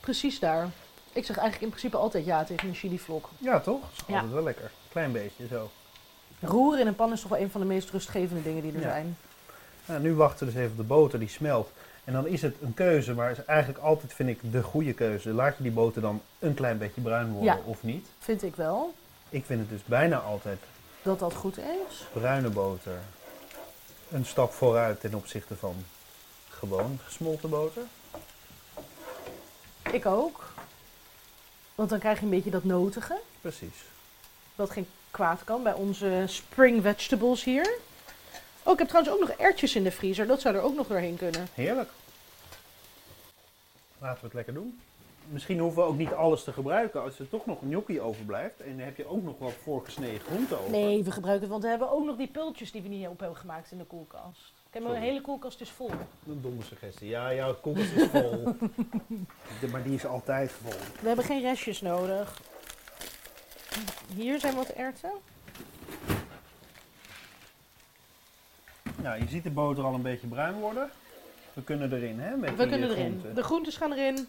[SPEAKER 1] precies daar. Ik zeg eigenlijk in principe altijd ja tegen een chilivlok.
[SPEAKER 2] Ja, toch? Dat is
[SPEAKER 1] Ja.
[SPEAKER 2] altijd wel lekker. Klein beetje zo.
[SPEAKER 1] Roeren in een pan is toch wel een van de meest rustgevende dingen die er
[SPEAKER 2] Ja.
[SPEAKER 1] zijn.
[SPEAKER 2] Nou, nu wachten we dus even op de boter die smelt. En dan is het een keuze, maar is eigenlijk altijd vind ik de goede keuze. Laat je die boter dan een klein beetje bruin worden
[SPEAKER 1] Ja.
[SPEAKER 2] of niet?
[SPEAKER 1] Vind ik wel
[SPEAKER 2] Ik vind het dus bijna altijd
[SPEAKER 1] dat dat goed is.
[SPEAKER 2] bruine boter een stap vooruit ten opzichte van gewoon gesmolten boter.
[SPEAKER 1] Ik ook. Want dan krijg je een beetje dat notige.
[SPEAKER 2] Precies.
[SPEAKER 1] Wat geen kwaad kan bij onze spring vegetables hier. Oh, ik heb trouwens ook nog ertjes in de vriezer. Dat zou er ook nog doorheen kunnen.
[SPEAKER 2] Heerlijk. Laten we het lekker doen. Misschien hoeven we ook niet alles te gebruiken als er toch nog een gnocchi overblijft. En dan heb je ook nog wat voorgesneden groenten over.
[SPEAKER 1] Nee, we gebruiken het, want we hebben ook nog die pultjes die we niet op hebben gemaakt in de koelkast. Kijk, mijn
[SPEAKER 2] Sorry.
[SPEAKER 1] hele koelkast is vol.
[SPEAKER 2] Een domme suggestie. Ja, jouw koelkast is vol.
[SPEAKER 3] de- maar die is altijd vol.
[SPEAKER 1] We hebben geen restjes nodig. Hier zijn wat erwten.
[SPEAKER 2] nou, je ziet de boter al een beetje bruin worden. We kunnen erin, hè? Met
[SPEAKER 1] We
[SPEAKER 2] die
[SPEAKER 1] kunnen erin.
[SPEAKER 2] groenten.
[SPEAKER 1] De groentes gaan erin.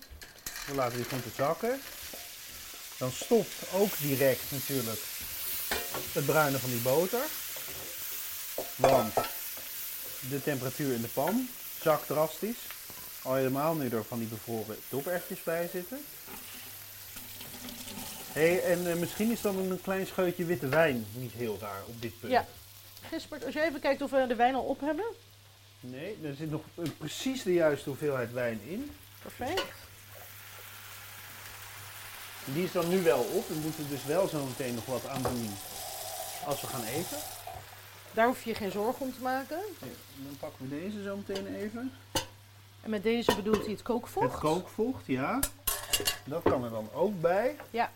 [SPEAKER 2] We laten die groenten zakken. Dan stopt ook direct natuurlijk het bruinen van die boter. Want de temperatuur in de pan zakt drastisch. Al helemaal nu er van die bevroren dopertjes bij zitten. hey, en eh, misschien is dan een klein scheutje witte wijn niet heel raar op dit punt.
[SPEAKER 1] Ja. Gisbert, als je even kijkt of we de wijn al op hebben.
[SPEAKER 2] Nee, er zit nog eh, precies de juiste hoeveelheid wijn in.
[SPEAKER 1] Perfect.
[SPEAKER 2] Die is dan nu wel op. We moeten dus wel zo meteen nog wat aan doen als we gaan eten.
[SPEAKER 1] Daar hoef je je geen zorgen om te maken.
[SPEAKER 2] dan pakken we deze zo meteen even.
[SPEAKER 1] En met deze bedoelt hij het kookvocht.
[SPEAKER 2] Het kookvocht, ja. Dat kan er dan ook bij.
[SPEAKER 1] Ja.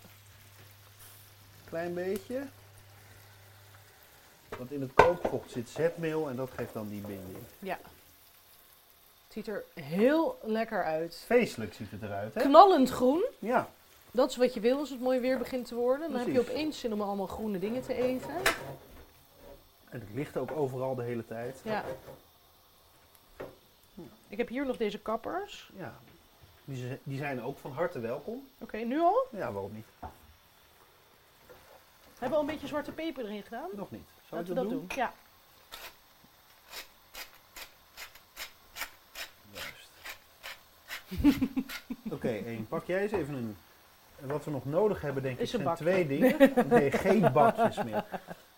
[SPEAKER 2] Klein beetje. Want in het kookvocht zit zetmeel en dat geeft dan die binding.
[SPEAKER 1] Ja. Het ziet er heel lekker uit.
[SPEAKER 2] Feestelijk ziet het eruit, hè?
[SPEAKER 1] Knallend groen.
[SPEAKER 2] Ja.
[SPEAKER 1] Dat is wat je wil als het mooi weer begint te worden. Dan heb
[SPEAKER 2] Precies.
[SPEAKER 1] je opeens zin om allemaal groene dingen te eten.
[SPEAKER 2] En het ligt ook overal de hele tijd.
[SPEAKER 1] Ja. Ik heb hier nog deze kappers.
[SPEAKER 2] Ja. Die, z- die zijn ook van harte welkom.
[SPEAKER 1] Oké, nu al?
[SPEAKER 2] Ja, waarom niet?
[SPEAKER 1] Hebben we al een beetje zwarte peper erin gedaan?
[SPEAKER 2] Nog niet. Zal
[SPEAKER 1] Laten
[SPEAKER 2] ik
[SPEAKER 1] we
[SPEAKER 2] dat,
[SPEAKER 1] dat
[SPEAKER 2] doen?
[SPEAKER 1] doen. Ja.
[SPEAKER 2] Juist. Oké, één. Pak jij eens even een. en Wat we nog nodig hebben, denk
[SPEAKER 1] Is een
[SPEAKER 2] ik, zijn
[SPEAKER 1] bak.
[SPEAKER 2] twee dingen. Nee, geen bakjes meer.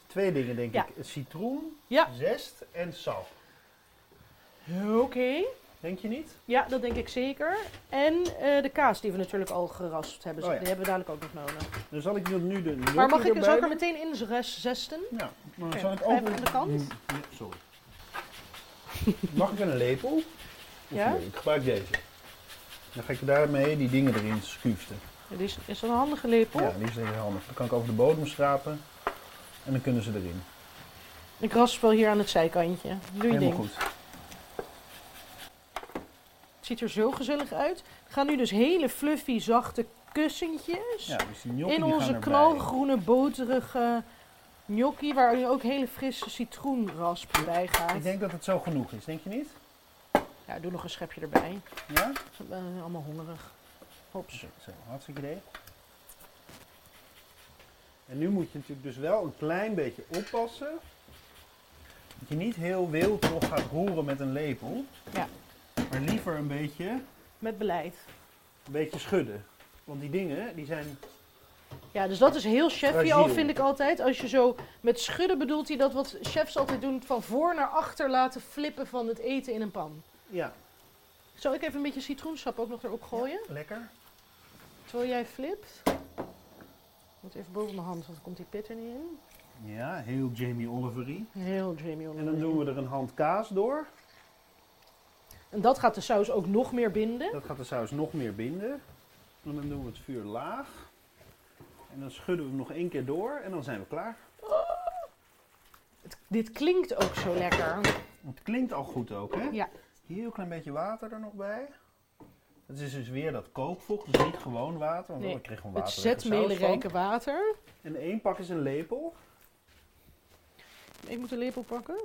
[SPEAKER 2] Twee dingen, denk
[SPEAKER 1] Ja.
[SPEAKER 2] ik. Citroen,
[SPEAKER 1] Ja.
[SPEAKER 2] zest en sap.
[SPEAKER 1] Oké.
[SPEAKER 2] Denk je niet?
[SPEAKER 1] Ja, dat denk ik zeker. En eh, de kaas die we natuurlijk al geraspt hebben.
[SPEAKER 2] Oh ja.
[SPEAKER 1] Die hebben we dadelijk ook nog nodig.
[SPEAKER 2] Dan zal ik nu de gnocchi
[SPEAKER 1] Maar mag ik, zal
[SPEAKER 2] erbij
[SPEAKER 1] ik er
[SPEAKER 2] doen.
[SPEAKER 1] meteen in zes- zesten?
[SPEAKER 2] Ja, maar
[SPEAKER 1] Oké,
[SPEAKER 2] zal ik
[SPEAKER 1] ga
[SPEAKER 2] ook...
[SPEAKER 1] even aan de kant.
[SPEAKER 2] Mm, nee, Sorry. Mag ik een lepel? Of
[SPEAKER 1] Ja.
[SPEAKER 2] nee, ik gebruik deze. Dan ga ik daarmee die dingen erin schuiften.
[SPEAKER 1] Ja, die is, is dat een handige lepel?
[SPEAKER 2] Ja, die is heel handig. Dan kan ik over de bodem schrapen en dan kunnen ze erin.
[SPEAKER 1] Ik rasp wel hier aan het zijkantje. Doe je
[SPEAKER 2] Helemaal
[SPEAKER 1] ding.
[SPEAKER 2] goed.
[SPEAKER 1] Het ziet er zo gezellig uit. We gaan nu dus hele fluffy, zachte kussentjes
[SPEAKER 2] Ja, dus die gnocchi
[SPEAKER 1] in
[SPEAKER 2] die gaan
[SPEAKER 1] onze
[SPEAKER 2] erbij.
[SPEAKER 1] knalgroene, boterige gnocchi, waar nu ook hele frisse citroenrasp bij gaat.
[SPEAKER 2] Ik denk dat het zo genoeg is, denk je niet?
[SPEAKER 1] Ja, doe nog een schepje erbij.
[SPEAKER 2] Ja?
[SPEAKER 1] Ze zijn allemaal hongerig. Hops.
[SPEAKER 2] Zo, zo, hartstikke idee. En nu moet je natuurlijk dus wel een klein beetje oppassen. Dat je niet heel wild nog gaat roeren met een lepel.
[SPEAKER 1] Ja.
[SPEAKER 2] Maar liever een beetje, een
[SPEAKER 1] Met beleid.
[SPEAKER 2] beetje schudden. Want die dingen, die zijn...
[SPEAKER 1] Ja, dus dat is heel chefy al,
[SPEAKER 2] Fragiel.
[SPEAKER 1] vind ik altijd. Als je zo met schudden bedoelt hij dat wat chefs altijd doen, van voor naar achter laten flippen van het eten in een pan.
[SPEAKER 2] Ja,
[SPEAKER 1] Zal ik even een beetje citroensap ook nog erop gooien?
[SPEAKER 2] lekker.
[SPEAKER 1] Terwijl jij flipt. Ik Moet even boven mijn hand, want dan komt die pit er niet in.
[SPEAKER 2] Ja, heel Jamie Olivery.
[SPEAKER 1] Heel Jamie
[SPEAKER 2] En dan doen we er een hand kaas door.
[SPEAKER 1] En dat gaat de saus ook nog meer binden.
[SPEAKER 2] Dat gaat de saus nog meer binden. En dan doen we het vuur laag. En dan schudden we hem nog één keer door en dan zijn we klaar.
[SPEAKER 1] Het- dit klinkt ook zo lekker.
[SPEAKER 2] Het klinkt al goed ook, hè?
[SPEAKER 1] Ja.
[SPEAKER 2] Heel klein beetje water er nog bij. Het is dus weer dat kookvocht, dus niet gewoon water, want
[SPEAKER 1] Nee,
[SPEAKER 2] ik kreeg gewoon
[SPEAKER 1] Het
[SPEAKER 2] water.
[SPEAKER 1] zetmelenrijke water.
[SPEAKER 2] En één pak is een lepel.
[SPEAKER 1] Ik moet een lepel pakken.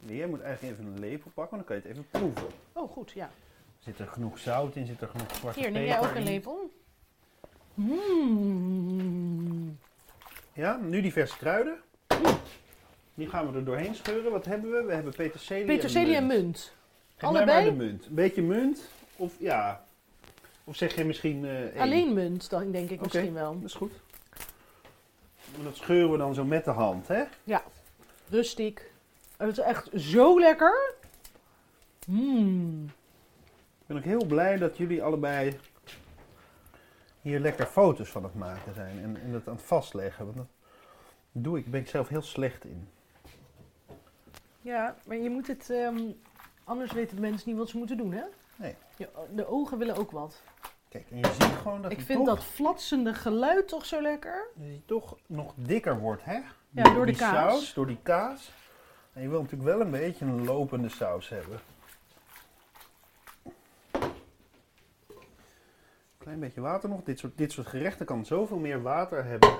[SPEAKER 2] Nee, je moet eigenlijk even een lepel pakken, want dan kan je het even proeven.
[SPEAKER 1] Oh, goed, ja.
[SPEAKER 2] Zit er genoeg zout in, zit er genoeg zwarte
[SPEAKER 1] Hier, neem
[SPEAKER 2] peper
[SPEAKER 1] jij ook een
[SPEAKER 2] in?
[SPEAKER 1] lepel? Mmm.
[SPEAKER 2] Ja, nu die verse kruiden. Die gaan we er doorheen scheuren. Wat hebben we? We hebben peterselie,
[SPEAKER 1] Peterselie en
[SPEAKER 2] munt.
[SPEAKER 1] munt.
[SPEAKER 2] Geef mij
[SPEAKER 1] Allebei?
[SPEAKER 2] maar de munt. Een beetje munt, of ja... Of zeg je misschien eh, één?
[SPEAKER 1] Alleen munt, dan denk ik
[SPEAKER 2] Oké.
[SPEAKER 1] misschien wel.
[SPEAKER 2] Dat is goed. En dat scheuren we dan zo met de hand, hè?
[SPEAKER 1] Rustiek. Het is echt zo lekker. Mmm.
[SPEAKER 2] Ik ben ook heel blij dat jullie allebei hier lekker foto's van het maken zijn en, en het aan het vastleggen. Want dat doe ik, daar ben ik zelf heel slecht in.
[SPEAKER 1] Ja, maar je moet het... ehm, anders weten mensen niet wat ze moeten doen, hè?
[SPEAKER 2] Nee.
[SPEAKER 1] Je- de ogen willen ook wat.
[SPEAKER 2] Kijk, en je ziet gewoon dat
[SPEAKER 1] Ik
[SPEAKER 2] het
[SPEAKER 1] vind
[SPEAKER 2] toch,
[SPEAKER 1] dat flatsende geluid toch zo lekker.
[SPEAKER 2] dat hij toch nog dikker wordt, hè?
[SPEAKER 1] Ja,
[SPEAKER 2] Die-
[SPEAKER 1] door de
[SPEAKER 2] die
[SPEAKER 1] kaas.
[SPEAKER 2] Saus, door die kaas. En je wil natuurlijk wel een beetje een lopende saus hebben. Klein beetje water nog. Dit soort, dit soort gerechten kan zoveel meer water hebben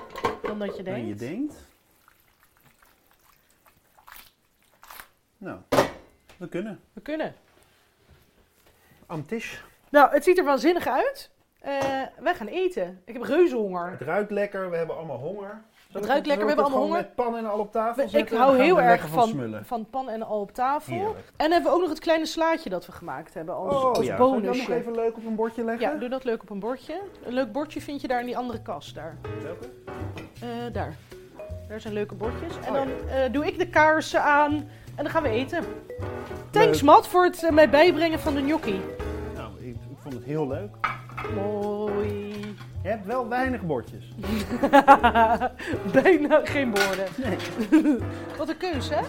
[SPEAKER 1] Dan dat je denkt.
[SPEAKER 2] dan je denkt. Nou, we kunnen.
[SPEAKER 1] We kunnen.
[SPEAKER 2] Am Tisch.
[SPEAKER 1] Nou, het ziet er waanzinnig uit. Eh, wij gaan eten. Ik heb reuze honger.
[SPEAKER 2] Het ruikt lekker, we hebben allemaal honger. Zal ik
[SPEAKER 1] ruikt lekker, we
[SPEAKER 2] zal
[SPEAKER 1] hebben
[SPEAKER 2] ik het
[SPEAKER 1] allemaal
[SPEAKER 2] gewoon met pan en al op tafel
[SPEAKER 1] Ik
[SPEAKER 2] zetten?
[SPEAKER 1] hou
[SPEAKER 2] Dan gaan we
[SPEAKER 1] heel erg
[SPEAKER 2] er lekker van
[SPEAKER 1] van,
[SPEAKER 2] smullen.
[SPEAKER 1] van pan en al op tafel.
[SPEAKER 2] Heerlijk.
[SPEAKER 1] En hebben we ook nog het kleine slaatje dat we gemaakt hebben als,
[SPEAKER 2] Oh
[SPEAKER 1] als
[SPEAKER 2] ja, zal ik dat nog
[SPEAKER 1] bonusje.
[SPEAKER 2] even leuk op een bordje leggen?
[SPEAKER 1] Ja, doe dat leuk op een bordje. Een leuk bordje vind je daar in die andere kast. Daar.
[SPEAKER 2] Welke?
[SPEAKER 1] Eh, daar. Daar zijn leuke bordjes. En
[SPEAKER 2] Oh,
[SPEAKER 1] dan eh, doe ik de kaarsen aan en dan gaan we eten. Thanks,
[SPEAKER 2] Leuk.
[SPEAKER 1] Matt, voor het eh, mij bijbrengen van de gnocchi.
[SPEAKER 2] Nou, ik, ik vond het heel leuk.
[SPEAKER 1] Mooi.
[SPEAKER 2] Je hebt wel weinig bordjes.
[SPEAKER 1] Bijna geen woorden. Wat een keus, hè?